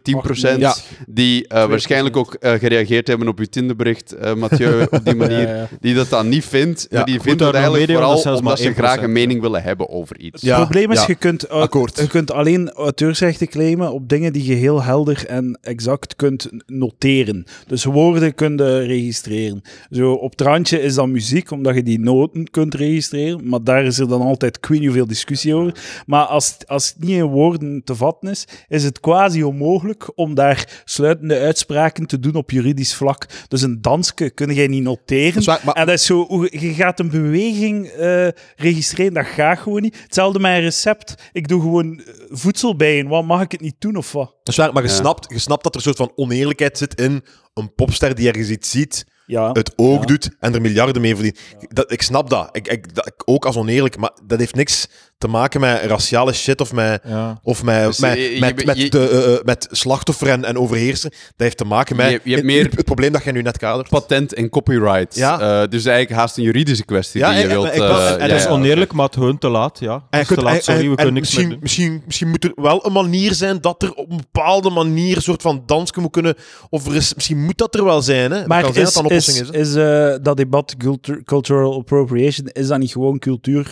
C: 10%
B: Ja.
C: die eh, waarschijnlijk ook eh, gereageerd hebben op uw Tinderbericht, eh Mathieu, op die manier.
B: Ja, ja.
C: Die dat dan niet vindt, maar
A: Ja,
C: die
D: goed,
C: vindt
D: daar
C: dat
D: nog
C: eigenlijk
D: meedoen,
C: vooral
D: dat is zelfs
C: omdat
D: maar
C: ze graag
D: 1%.
C: een mening willen hebben over iets.
A: Ja,
B: het probleem is,
A: ja.
B: je, kunt, au-
A: Akkoord.
B: je kunt alleen auteursrechten claimen op dingen die je heel helder en exact kunt noteren. Dus woorden kunt je registreren. Zo, op het randje is dan muziek, omdat je die noten kunt registreren. Maar daar is er dan altijd ik weet niet hoeveel discussie over. Maar als, als het niet in woorden te vatten is, is het quasi onmogelijk om daar sluitende uitspraken te doen op juridisch vlak. Dus een danske kun jij niet noteren.
A: is waar, maar-
B: En dat is zo, hoe- je gaat een beweging eh, registreren, dat gaat gewoon niet. Hetzelfde met een recept. Ik doe gewoon eh, voedsel bij een. Wat mag ik het niet doen of wat?
A: Dat is waar, maar je,
C: Ja.
A: snapt, je snapt dat er een soort van oneerlijkheid zit in een popster die ergens iets ziet,
B: Ja.
A: het ook
B: Ja.
A: doet en er miljarden mee verdient. Dat, ik snap dat. Ik, ik, dat. ik ook als oneerlijk, maar dat heeft niks te maken met raciale shit of met...
D: Ja.
A: Of met,
C: Dus
A: met,
C: je- je-
A: met, met,
C: je-
A: de, eh, eh, met slachtoffer en, en overheerser. Dat heeft te maken met
C: Je- je hebt meer-
A: het, het probleem dat jij nu net kadert.
C: Patent en copyright.
A: Ja.
C: Eh, dus eigenlijk haast een juridische kwestie
A: Ja,
C: die je
A: en- en-
C: wilt...
A: ik was-
C: eh,
A: en- en
D: Het
C: ja,
D: is
C: ja.
D: oneerlijk, maar het hun te laat, ja.
A: En
D: Het
A: je
B: dus
D: is te
A: kunt- en-
D: laat, sorry,
A: en-
D: we
A: en
D: kunnen niks
A: misschien,
D: meer doen.
A: misschien, misschien moet er wel een manier zijn dat er op een bepaalde manier een soort van dansje moet kunnen. Of er is, misschien moet dat er wel zijn. Hè? Het
B: Maar
A: kan
B: is,
A: zijn
B: is,
A: dat dat een oplossing
B: is,
A: is. hè.
B: eh, dat debat cultu- cultural appropriation, is dat niet gewoon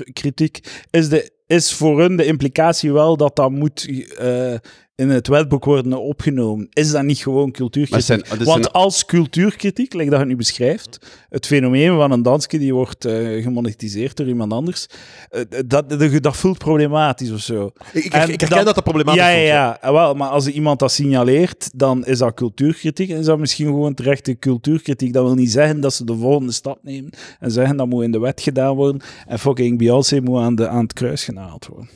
B: cultuurkritiek? Is, de, is voor hun de implicatie wel dat dat moet eh, in het wetboek worden opgenomen? Is dat niet gewoon
C: Maar
B: cultuurkritiek?
C: zijn- dat is
B: Want
C: een-
B: als cultuurkritiek, like dat je nu beschrijft, het fenomeen van een dansje die wordt eh, gemonetiseerd door iemand anders, eh, dat, dat, dat voelt problematisch of zo.
A: Ik, ik,
B: en
A: ik herken dat dat, problematisch
B: Ja,
A: is.
B: ja, ja. Eh, Wel, maar als iemand dat signaleert, dan is dat cultuurkritiek. En is dat misschien gewoon terechte cultuurkritiek. Dat wil niet zeggen dat ze de volgende stap nemen en zeggen dat moet in de wet gedaan worden. En fucking Beyoncé moet aan, de, aan het kruis genaald worden.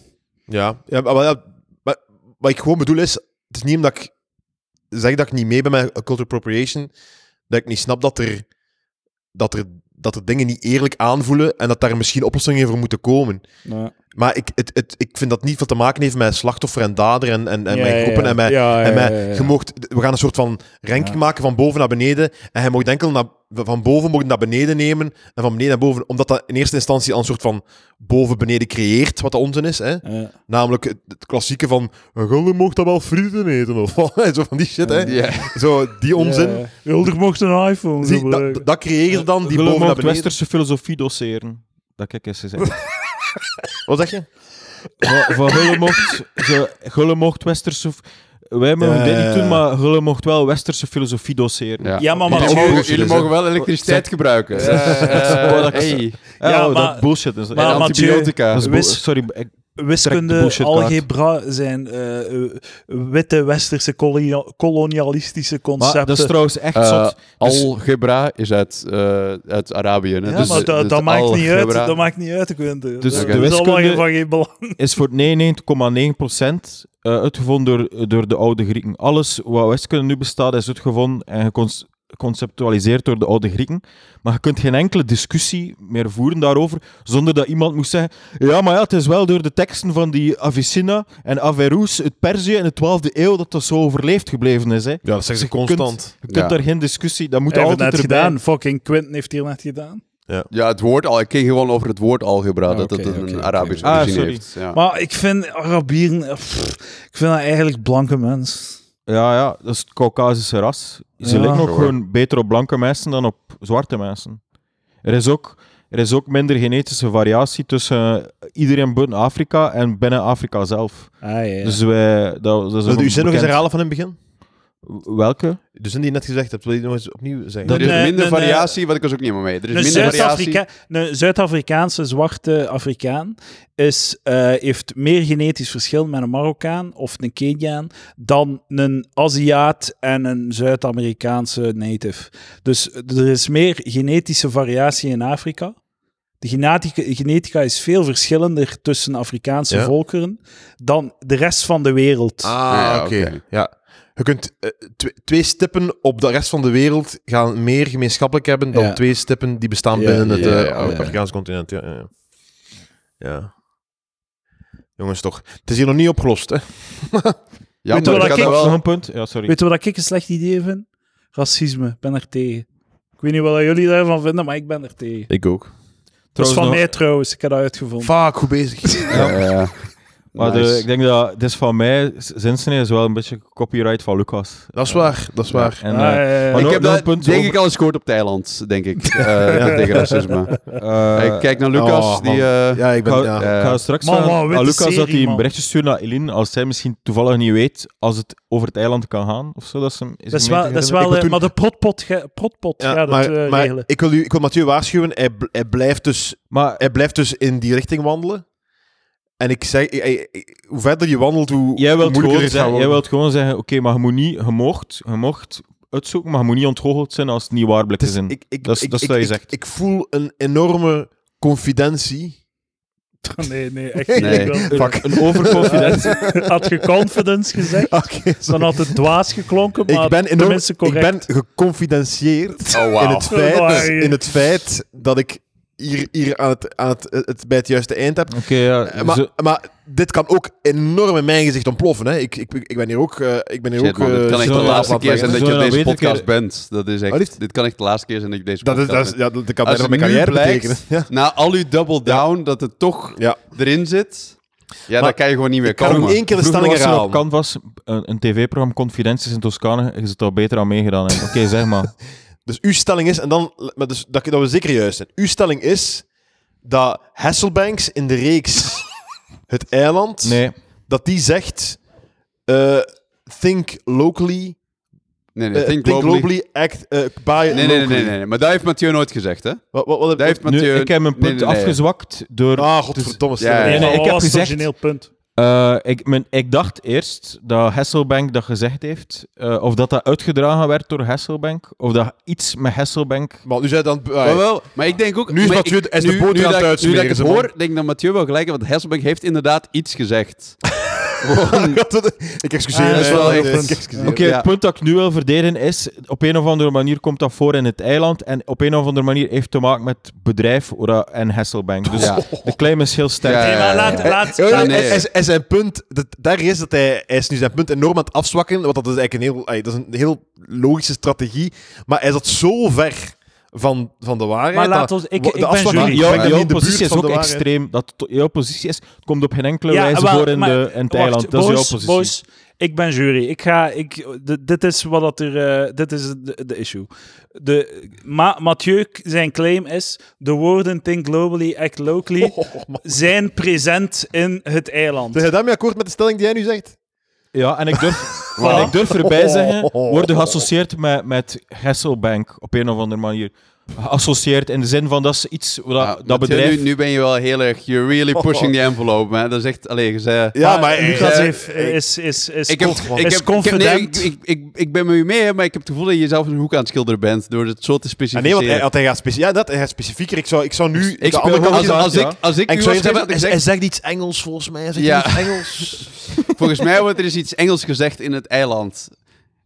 A: Ja, ja, maar, maar- maar wat ik gewoon bedoel is, het is niet omdat ik zeg dat ik niet mee ben met cultural appropriation, dat ik niet snap dat er, dat er, dat er dingen niet eerlijk aanvoelen en dat daar misschien oplossingen voor moeten komen.
B: Ja.
A: Maar ik, het, het, ik vind dat niet veel te maken heeft met slachtoffer en dader en, en, en
B: Ja,
A: met
B: ja,
A: groepen
B: ja.
A: en met...
B: Ja, ja,
A: en met
B: ja, ja, ja.
A: je moogt- we gaan een soort van ranking
B: Ja.
A: maken van boven naar beneden. En je mag enkel naar, van boven mocht naar beneden nemen en van beneden naar boven. Omdat dat in eerste instantie al een soort van boven-beneden creëert, wat de onzin is. Hè?
B: Ja.
A: Namelijk het, het klassieke van... Gulden mocht dan wel frieten eten of wat. Zo van die shit, hè.
C: Ja.
A: Zo die onzin.
B: Ja, ja. Hulder mocht een iPhone
A: Zie,
B: gebruiken.
A: dat, dat creëer je dan, die
D: Willem
A: boven naar
D: mocht
A: beneden.
D: westerse filosofie doseren. Dat ik eens gezegd.
A: Wat zeg je?
D: van van Gulle mocht, ze- Gulle mocht westerse... Wij mogen
A: Ja,
D: dit
A: ja, ja.
D: niet doen, maar Gulle mocht wel westerse filosofie doseren.
C: Ja. Eh,
B: Ja, maar- maar-
C: jullie,
B: maar-
C: mogen,
A: bullshit
C: jullie
A: is, hè.
C: mogen wel elektriciteit gebruiken.
D: Oh, dat-
C: Hey.
D: Ja,
B: Ja,
D: oh,
B: maar-
D: dat bullshit is.
B: maar-
D: Ja,
C: en
B: maar- Mathieu,
C: antibiotica.
D: dat is bo-
B: wis-
D: sorry, ik- Trek de
B: Wiskunde,
D: bullshitkaart.
B: algebra zijn eh, eh, witte westerse kolonia- kolonialistische
D: maar
B: concepten.
D: dat is trouwens echt
C: Eh,
D: zot. Dus-
C: algebra is uit, eh, uit Arabië. Hè?
B: Ja,
C: dus,
B: maar dat,
C: dus
B: dat maakt niet uit,
C: algebra-
B: dat maakt niet uit, Quinten.
D: Dus
B: dat
C: de
B: is allemaal
D: wiskunde-
B: van geen belang.
D: is voor 99,9% eh, uitgevonden door, door de oude Grieken. Alles wat wiskunde nu bestaat, is uitgevonden en geconce- geconceptualiseerd door de oude Grieken. Maar je kunt geen enkele discussie meer voeren daarover zonder dat iemand moet zeggen: Ja, maar ja, het is wel door de teksten van die Avicenna en Averroes, het Perzië in de 12e eeuw, dat dat zo overleefd gebleven is. Hè. Je
A: Ja, dat zeggen ze
D: kunt-
A: constant.
D: Je kunt
C: Ja.
D: daar geen discussie, dat moet
B: Hij heeft
D: altijd
B: net
D: erbij.
B: gedaan. Fucking Quentin heeft hier net gedaan.
C: Ja, het woord al. Ik ging gewoon over het woord algebra.
B: Ah,
C: dat het
B: oké,
C: een
B: oké, oké.
C: Arabische
D: Ah,
C: origine
D: sorry.
C: heeft. Ja.
B: Maar ik vind Arabieren... eh, pff, ik vind dat eigenlijk blanke mens.
D: Ja, ja, dat is het Caucasische ras. Ze
B: Ja.
D: lijken ook
C: Sure.
D: gewoon beter op blanke mensen dan op zwarte mensen. Er is ook, er is ook minder genetische variatie tussen eh, iedereen buiten Afrika en binnen Afrika zelf.
B: Ah, ja.
D: Dus wij... Dat, dat is
A: Wil
D: ook
A: je uw zin nog eens
D: bekend.
A: herhalen van in het begin?
D: Welke?
A: De zin die je net gezegd hebt, wil je die nog eens opnieuw zeggen?
C: Er is
B: Nee,
C: minder
B: nee, nee.
C: variatie, wat ik was ook niet meer mee. Er is
B: eh,
A: Dus
B: Een,
C: minder variatie.
B: Zuid-Afrika- een Zuid-Afrikaanse zwarte Afrikaan is, eh, heeft meer genetisch verschil met een Marokkaan of een Keniaan dan een Aziat en een Zuid-Amerikaanse native. Dus er is meer genetische variatie in Afrika. De genetica, genetica is veel verschillender tussen Afrikaanse
A: Ja.
B: volkeren dan de rest van de wereld.
A: Ah,
C: Ja,
A: oké.
C: oké.
A: Ja. Je kunt eh, tw- twee stippen op de rest van de wereld gaan meer gemeenschappelijk hebben dan
B: Ja.
A: twee stippen die bestaan
B: Ja,
A: binnen het
C: ja,
A: eh,
C: ja, ja.
A: Afrikaanse continent. Ja, ja, ja. Ja. Jongens, toch. Het is hier nog niet opgelost, hè?
C: Ja,
B: Weet je
C: maar
B: wat
C: ik ga
B: ik-
C: dat
D: Nog
C: wel...
D: een punt? Ja, sorry.
B: Weet je wat ik een slecht idee vind? Racisme. Ik ben er tegen. Ik weet niet wat jullie daarvan vinden, maar ik ben er tegen.
A: Ik ook.
B: Dat is
D: Trouwens
B: Dus van
D: nog-
B: mij trouwens, ik heb dat uitgevonden.
A: Vaak, goed bezig.
C: Ja.
D: Maar de-
C: Nice.
D: ik denk dat dit is van mij, zinsnee is wel een beetje copyright van Lucas.
A: Dat is waar, dat is waar.
D: En,
B: Ah,
D: eh,
B: ja, ja, ja.
D: Maar
C: Ik
D: nog-
C: heb
D: nog
C: dat
D: een punt
C: denk
D: over-
C: ik al eens gehoord op Thailand, denk ik. eh, Tegen racisme.
D: eh,
C: ik kijk naar Lucas,
A: oh,
C: die...
A: man.
C: eh,
A: Ja, ik
D: Ik ga,
A: ben... Ja.
C: ja.
D: ik ga straks
B: Man,
D: aan-
B: wat een
D: aan
B: witte
D: Lucas dat
B: serie,
D: hij een
B: man.
D: berichtje stuurt naar Eline als zij misschien toevallig niet weet als het over het eiland kan gaan of zo. Dat ze hem-
B: Dat is
D: hem
B: wel,
D: mee
B: dat is
D: te herinneren.
A: Ik
B: wel
A: moet
B: eh,
A: toen-
B: maar de protpot, ge- protpot
A: Ja,
B: gaat het
A: maar
B: eh,
A: maar
B: regelen.
A: ik, wil u, ik wil Mathieu waarschuwen, hij, bl- hij blijft dus,
B: eh,
D: Maar
A: hij blijft dus in die richting wandelen. En ik zeg, ik- ik- ik- hoe verder je wandelt, hoe,
D: jij
A: hoe
D: wilt,
A: moeilijker
D: gewoon
A: het gaat
D: zeggen, jij
A: worden.
D: wilt gewoon zeggen, oké, maar je moet niet, je mocht, je mocht uitzoeken, maar je moet niet ontgoocheld zijn als het niet waar blijkt te zijn.
A: Ik, ik,
D: Dat is-
A: ik,
D: dat is
A: ik-
D: wat je
A: ik-
D: zegt.
A: Ik voel een enorme confidentie.
B: Nee, nee, echt niet.
C: Nee.
B: Ik wil-
A: Fuck.
D: Een overconfidentie.
B: Had je confidence gezegd,
A: Oké,
B: dan had het dwaas geklonken, maar
A: ik ben, enorm,
B: tenminste
A: ik
B: correct.
A: ben geconfidentieerd
C: Oh, wauw.
A: in, het feit,
B: Oh, nee.
A: in het feit dat ik hier, hier aan het, aan het, het bij het juiste eind heb.
D: Oké, ja.
A: Eh, Maar,
D: zo-
A: maar dit kan ook enorm in mijn gezicht ontploffen. Hè. Ik, ik, ik ben hier ook... eh, ik ben hier
C: Shit,
A: ook
C: man,
A: eh,
C: dit kan echt de
D: zullen we-
C: laatste keer zijn dat je
D: zullen
C: op
D: we
C: deze
D: weten
C: podcast
D: keer-
C: bent. Dat is
A: Oh,
C: echt,
A: liefst.
C: dit kan echt de laatste keer zijn dat ik deze
A: dat, is,
C: podcast
A: dat, is,
C: ben.
A: ja, dat kan
C: Als
A: bijna
C: het
A: mijn
C: nu
A: carrière
C: blijkt-
A: betekenen. Ja.
C: Na al uw double down, dat het toch
A: Ja.
C: erin zit, ja,
A: Maar
C: dan kan je gewoon niet meer
A: Ik kan
C: komen.
A: hem één keer de
D: Vroeger
A: stelling
D: was er op
A: herhalen.
D: Canvas een, een tv-programma Confidenties in Toscane. Je zit al beter aan meegedaan. hebben. Oké, zeg maar.
A: Dus uw stelling is, en dan, maar dus, dat, dat we zeker juist zijn. Uw stelling is dat Hasselbanks in de reeks Het Eiland,
D: Nee.
A: dat die zegt: eh, Think locally,
C: Nee,
A: eh,
C: nee, think globally.
A: act eh, buy
C: Nee, nee, nee,
A: locally.
C: nee, nee. Maar dat heeft Mathieu nooit gezegd, hè?
A: Wat, wat, wat,
C: Dat heeft
D: Nu,
C: Mathieu...
D: ik heb mijn
C: Nee,
D: punt
C: nee, nee.
D: afgezwakt door...
A: ah, godverdomme.
C: Ja, ja,
A: sorry.
D: Nee, nee,
B: Maar
D: ik
B: wat
D: heb
B: was het
D: gezegd-
B: origineel punt.
D: Eh, ik, mijn, ik dacht eerst dat Hasselbank dat gezegd heeft, eh, of dat dat uitgedragen werd door Hasselbank, of dat iets met Hasselbank...
A: Maar nu zei dan. ah,
C: Maar wel, maar ik denk ook...
A: Nu is
C: maar
A: Mathieu-
C: ik-
A: hij is de
C: nu-
A: boter aan
C: nu dat
A: het
C: ik-
A: uitsmeren,
C: Nu dat
A: zeg
C: ik
A: maar.
C: het hoor, denk ik dat Mathieu wel gelijk heeft, want Hasselbank heeft inderdaad iets gezegd.
A: ik excuseer
B: Ah,
A: me.
B: dat is
C: wel
A: ik
B: echt-
A: excuseer
D: Oké,
A: me.
C: Ja.
D: het punt dat ik nu wil verdedigen is, op een of andere manier komt dat voor in het eiland, en op een of andere manier heeft te maken met bedrijf Ora en Hasselbank. Dus
C: Ja.
D: de claim is heel sterk.
C: Ja.
B: Nee, maar laat,
C: Eh,
B: laat,
A: Ja,
C: eh,
B: laat-
A: en-
C: nee.
A: en- en- En zijn punt, dat, daar is dat hij, hij is nu zijn punt enorm aan het afzwakken. Want dat is eigenlijk een heel, ey, dat is een heel logische strategie. Maar hij zat zo ver van, van de waarheid.
B: Maar laat
A: dat-
B: ons- ik-
A: wa-
B: ik ben
A: afzwakking-
D: Maar
B: jury.
A: ik
D: jouw,
A: ben
D: jouw
A: niet in de buurt
D: positie is
A: van de
D: ook
A: waarheid.
D: extreem. Dat, to- jouw positie is, het komt op geen enkele wijze
B: wel,
D: voor in,
B: maar-
D: de, in het
B: wacht,
D: eiland. Dat
B: boys,
D: is jouw positie.
B: boys, ik ben jury. Ik ga, ik, d- dit is wat dat er, eh, dit is de, de issue. De, Ma- Mathieu, k- zijn claim is, de woorden think globally, act locally,
A: Oh,
B: zijn present in het eiland.
A: Ben jij Dus daarmee akkoord met de stelling die jij nu zegt?
D: Ja, en ik durf,
B: Voilà.
D: en ik durf
A: Oh.
D: erbij zeggen, worden geassocieerd met, met Hasselbank op een of andere manier. Geassocieerd in de zin van dat is iets wat
C: Ja,
D: dat
C: Mathieu,
D: bedrijf...
C: Nu, nu ben je wel heel erg... You're
A: Oh.
C: really pushing the envelope, man. Dat is echt... Allee, je zei...
A: Ja, maar...
B: Lucas
A: eh,
B: heeft, is, is, is,
C: Ik, heb,
B: is
C: ik, heb, ik, heb-
B: confident.
C: nee, ik, ik, ik, ik ben met je mee, hè, maar ik heb het gevoel dat je zelf een hoek aan het schilderen bent door het
A: ah,
C: zo te
A: nee,
C: specificeren.
A: want hij, want hij gaat specifieker. Ja, dat, hij gaat specifieker. Ik zou, ik zou nu
C: ik
A: de
C: speel
A: andere kant
C: gewoon
A: gaan.
C: als, als
D: ja.
C: ik als ik
A: En ik
C: u
A: zou
C: was
A: zeggen,
C: geweest,
A: hij, hij
C: had ik gezegd,
A: zegt iets Engels volgens mij. Hij zegt
C: Ja.
A: iets Engels.
C: volgens mij wordt er eens iets Engels gezegd in het eiland.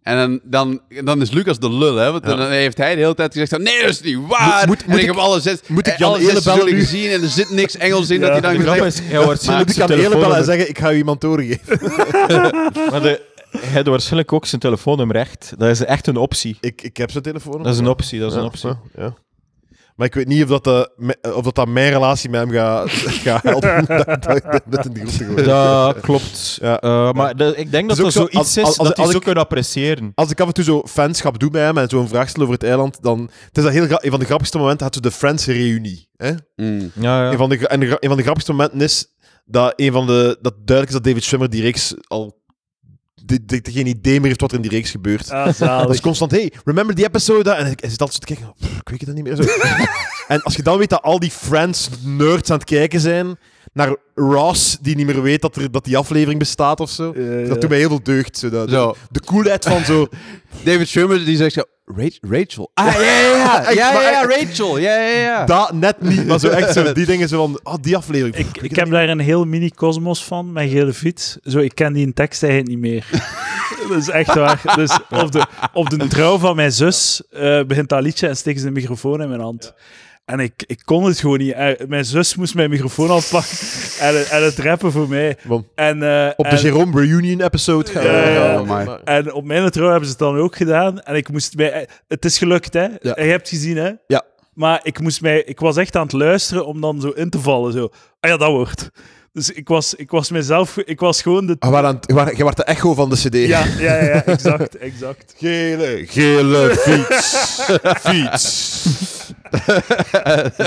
C: En dan, dan, dan is Lucas de lul, hè? Want dan heeft hij de hele tijd gezegd: van, Nee, dat is niet waar.
A: Moet- moet-
C: en
A: moet
C: ik
A: ik-
C: heb alle zes,
A: moet ik
C: eh,
A: Jan
C: alle zes
A: Elen bellen
C: seizoenen
A: nu?
C: gezien en er zit niks Engels in.
B: Ja.
C: dat hij dan
D: De
C: gezegd
D: grap
C: heeft,
D: is, hij wordt
A: Moet
D: waarschijnlijk
A: ik aan
D: zijn
A: de hele bellen en
D: telefoonnummer...
A: zeggen, ik ga u iemand doorgeven.
D: Maar de, hij had waarschijnlijk ook zijn telefoonnummer recht. Dat is echt een optie.
A: Ik, ik heb zijn telefoon.
D: Dat is een optie, dat is een optie.
A: Ja, ja. Maar ik weet niet of dat, eh, me- of dat, dat mijn relatie met hem gaat gaat helpen. dat, dat, dat in die groep te gooien.
D: Dat klopt.
A: Ja.
D: Eh, maar dat- ik denk
A: Dat
D: dat dat
A: is ook zo-
D: zoiets
A: als-
D: is
A: als-
D: dat die
A: als
D: zo
A: ik-
D: kunnen appreciëren.
A: Als ik af en toe zo fanschap doe bij hem en zo'n vraag stel over het eiland, dan... Het is dat heel gra- een van de grappigste momenten, had ze de Friends reunie. Hè?
C: Mm.
D: Ja, ja.
A: Een, van de, gra- en de gra- een van de grappigste momenten is dat, een van de, dat duidelijk is dat David Schwimmer die reeks al die, die, die geen idee meer heeft wat er in die reeks gebeurt.
B: Ah,
A: Dat
B: zalig.
A: is constant, hey, remember die episode? En ik hij zit altijd zo te kijken, oh, pff, ik weet het niet meer. Zo. en als je dan weet dat al die Friends-nerds aan het kijken zijn naar Ross, die niet meer weet dat, er, dat die aflevering bestaat of zo.
B: Ja, ja.
A: Dat doet mij heel veel deugd. Zo, dat,
C: Zo.
A: De coolheid van zo...
C: David Sherman die zegt zo, "Ra- Rachel. Ah, ja, ja, ja.
A: Echt,
C: Ja, ja,
A: maar-
C: ja, Rachel. Ja, ja, ja.
A: dat net niet, maar zo echt zo, die dingen zo van, ah, die aflevering. pff,
B: Ik, ik heb daar een heel mini-cosmos van, mijn gele fiets. Zo, ik ken die in tekst eigenlijk niet meer. dat is echt waar. Dus op de, op de trouw van mijn zus eh, begint dat liedje en steken ze de microfoon in mijn hand. En ik, ik kon het gewoon niet. Eh, Mijn zus moest mijn microfoon afpakken en, het- en het rappen voor mij.
A: Bom.
B: En, eh,
A: Op de
B: en,
A: Jerome Reunion episode
C: Oh,
A: Oh, gaan we-
B: Ja, ja,
C: ja.
A: maar-
B: en op mijn trouw hebben ze het dan ook gedaan. En ik moest mij... eh, Het is gelukt, hè?
A: Ja.
B: Je hebt gezien, hè?
A: Ja.
B: Maar ik, moest mij, ik was echt aan het luisteren om dan zo in te vallen. Zo. Ah ja, dat wordt. Dus ik was, ik was mezelf... Ik was gewoon de...
A: Ah, we waren aan het- we waren- Jij werd de echo van de cd.
B: Ja, ja, ja, ja, exact, exact.
A: Gele, gele fiets. fiets.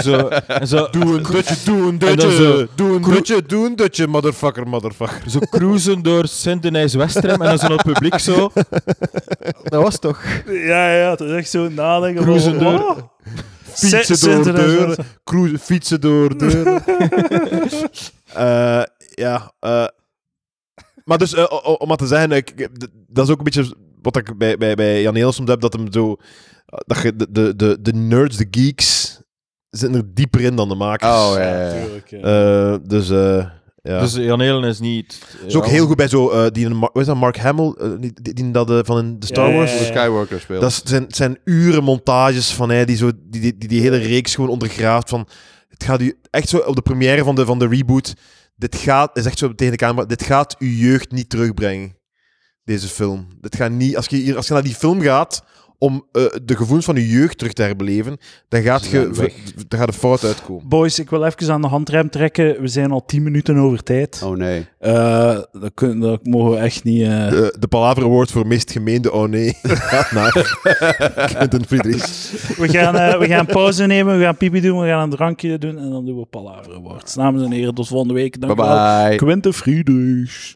D: Zo, en zo,
A: Doe een dutje, doe een
D: En dan
A: dutje.
D: zo-
A: Doe een dutje, doe een dutje, motherfucker, motherfucker.
D: zo cruisen door Sint-Denijs-Westrem en dan zo naar het publiek zo. Dat was toch...
B: Ja, ja, het is echt zo nadenken. van,
D: Cruisen door-
B: oh.
A: Fietsen
B: Zit-
A: door
B: zit er
A: deuren.
B: zo-
A: Cruisen, fietsen door deuren. Eh, ja. eh. maar dus, eh, o- o- om maar te zeggen, ik, ik- d- dat is ook een beetje wat ik bij, bij, bij Jan Heel soms heb, dat hem zo... Dat je de, de, de, de nerds, de geeks, zitten er dieper in dan de makers.
C: Oh, ja,
B: Ja,
C: ja, ja.
B: tuurlijk, ja.
A: Eh, dus, eh, ja.
D: Dus Jan Helen is niet...
A: is ook heel goed bij zo, eh, die, Mar- wat is dat, Mark Hamill, eh, die, die, die dat, eh, van in de Star
B: Ja, ja,
A: Wars.
B: ja, ja.
C: Skywalker speelt.
A: Dat is- zijn, zijn uren montages van hij die, zo, die, die, die, die hele reeks gewoon ondergraaft. Van, het gaat u echt zo op de première van de, van de reboot. Dit gaat, is echt zo tegen de camera. Dit gaat uw jeugd niet terugbrengen. Deze film. Dit gaat niet, als, je hier, als je naar die film gaat om eh, de gevoelens van je jeugd terug te herbeleven, dan gaat,
C: Ze
A: je,
C: zijn weg.
A: v- dan gaat het fout uitkomen.
B: Boys, ik wil even aan de handrem trekken. We zijn al 10 minuten over tijd.
C: Oh nee.
B: Eh, dat, kun- dat mogen we echt niet... eh,
A: De, de Palaver Award voor meest gemeende oh nee gaat naar Quentin Friedrich.
B: We gaan, eh, we gaan pauze nemen, we gaan pipi doen, we gaan een drankje doen en dan doen we Palaver Awards. Dames en heren, tot volgende week. Dank
C: Bye
B: u wel.
C: bye.
B: Quinte Friedrichs.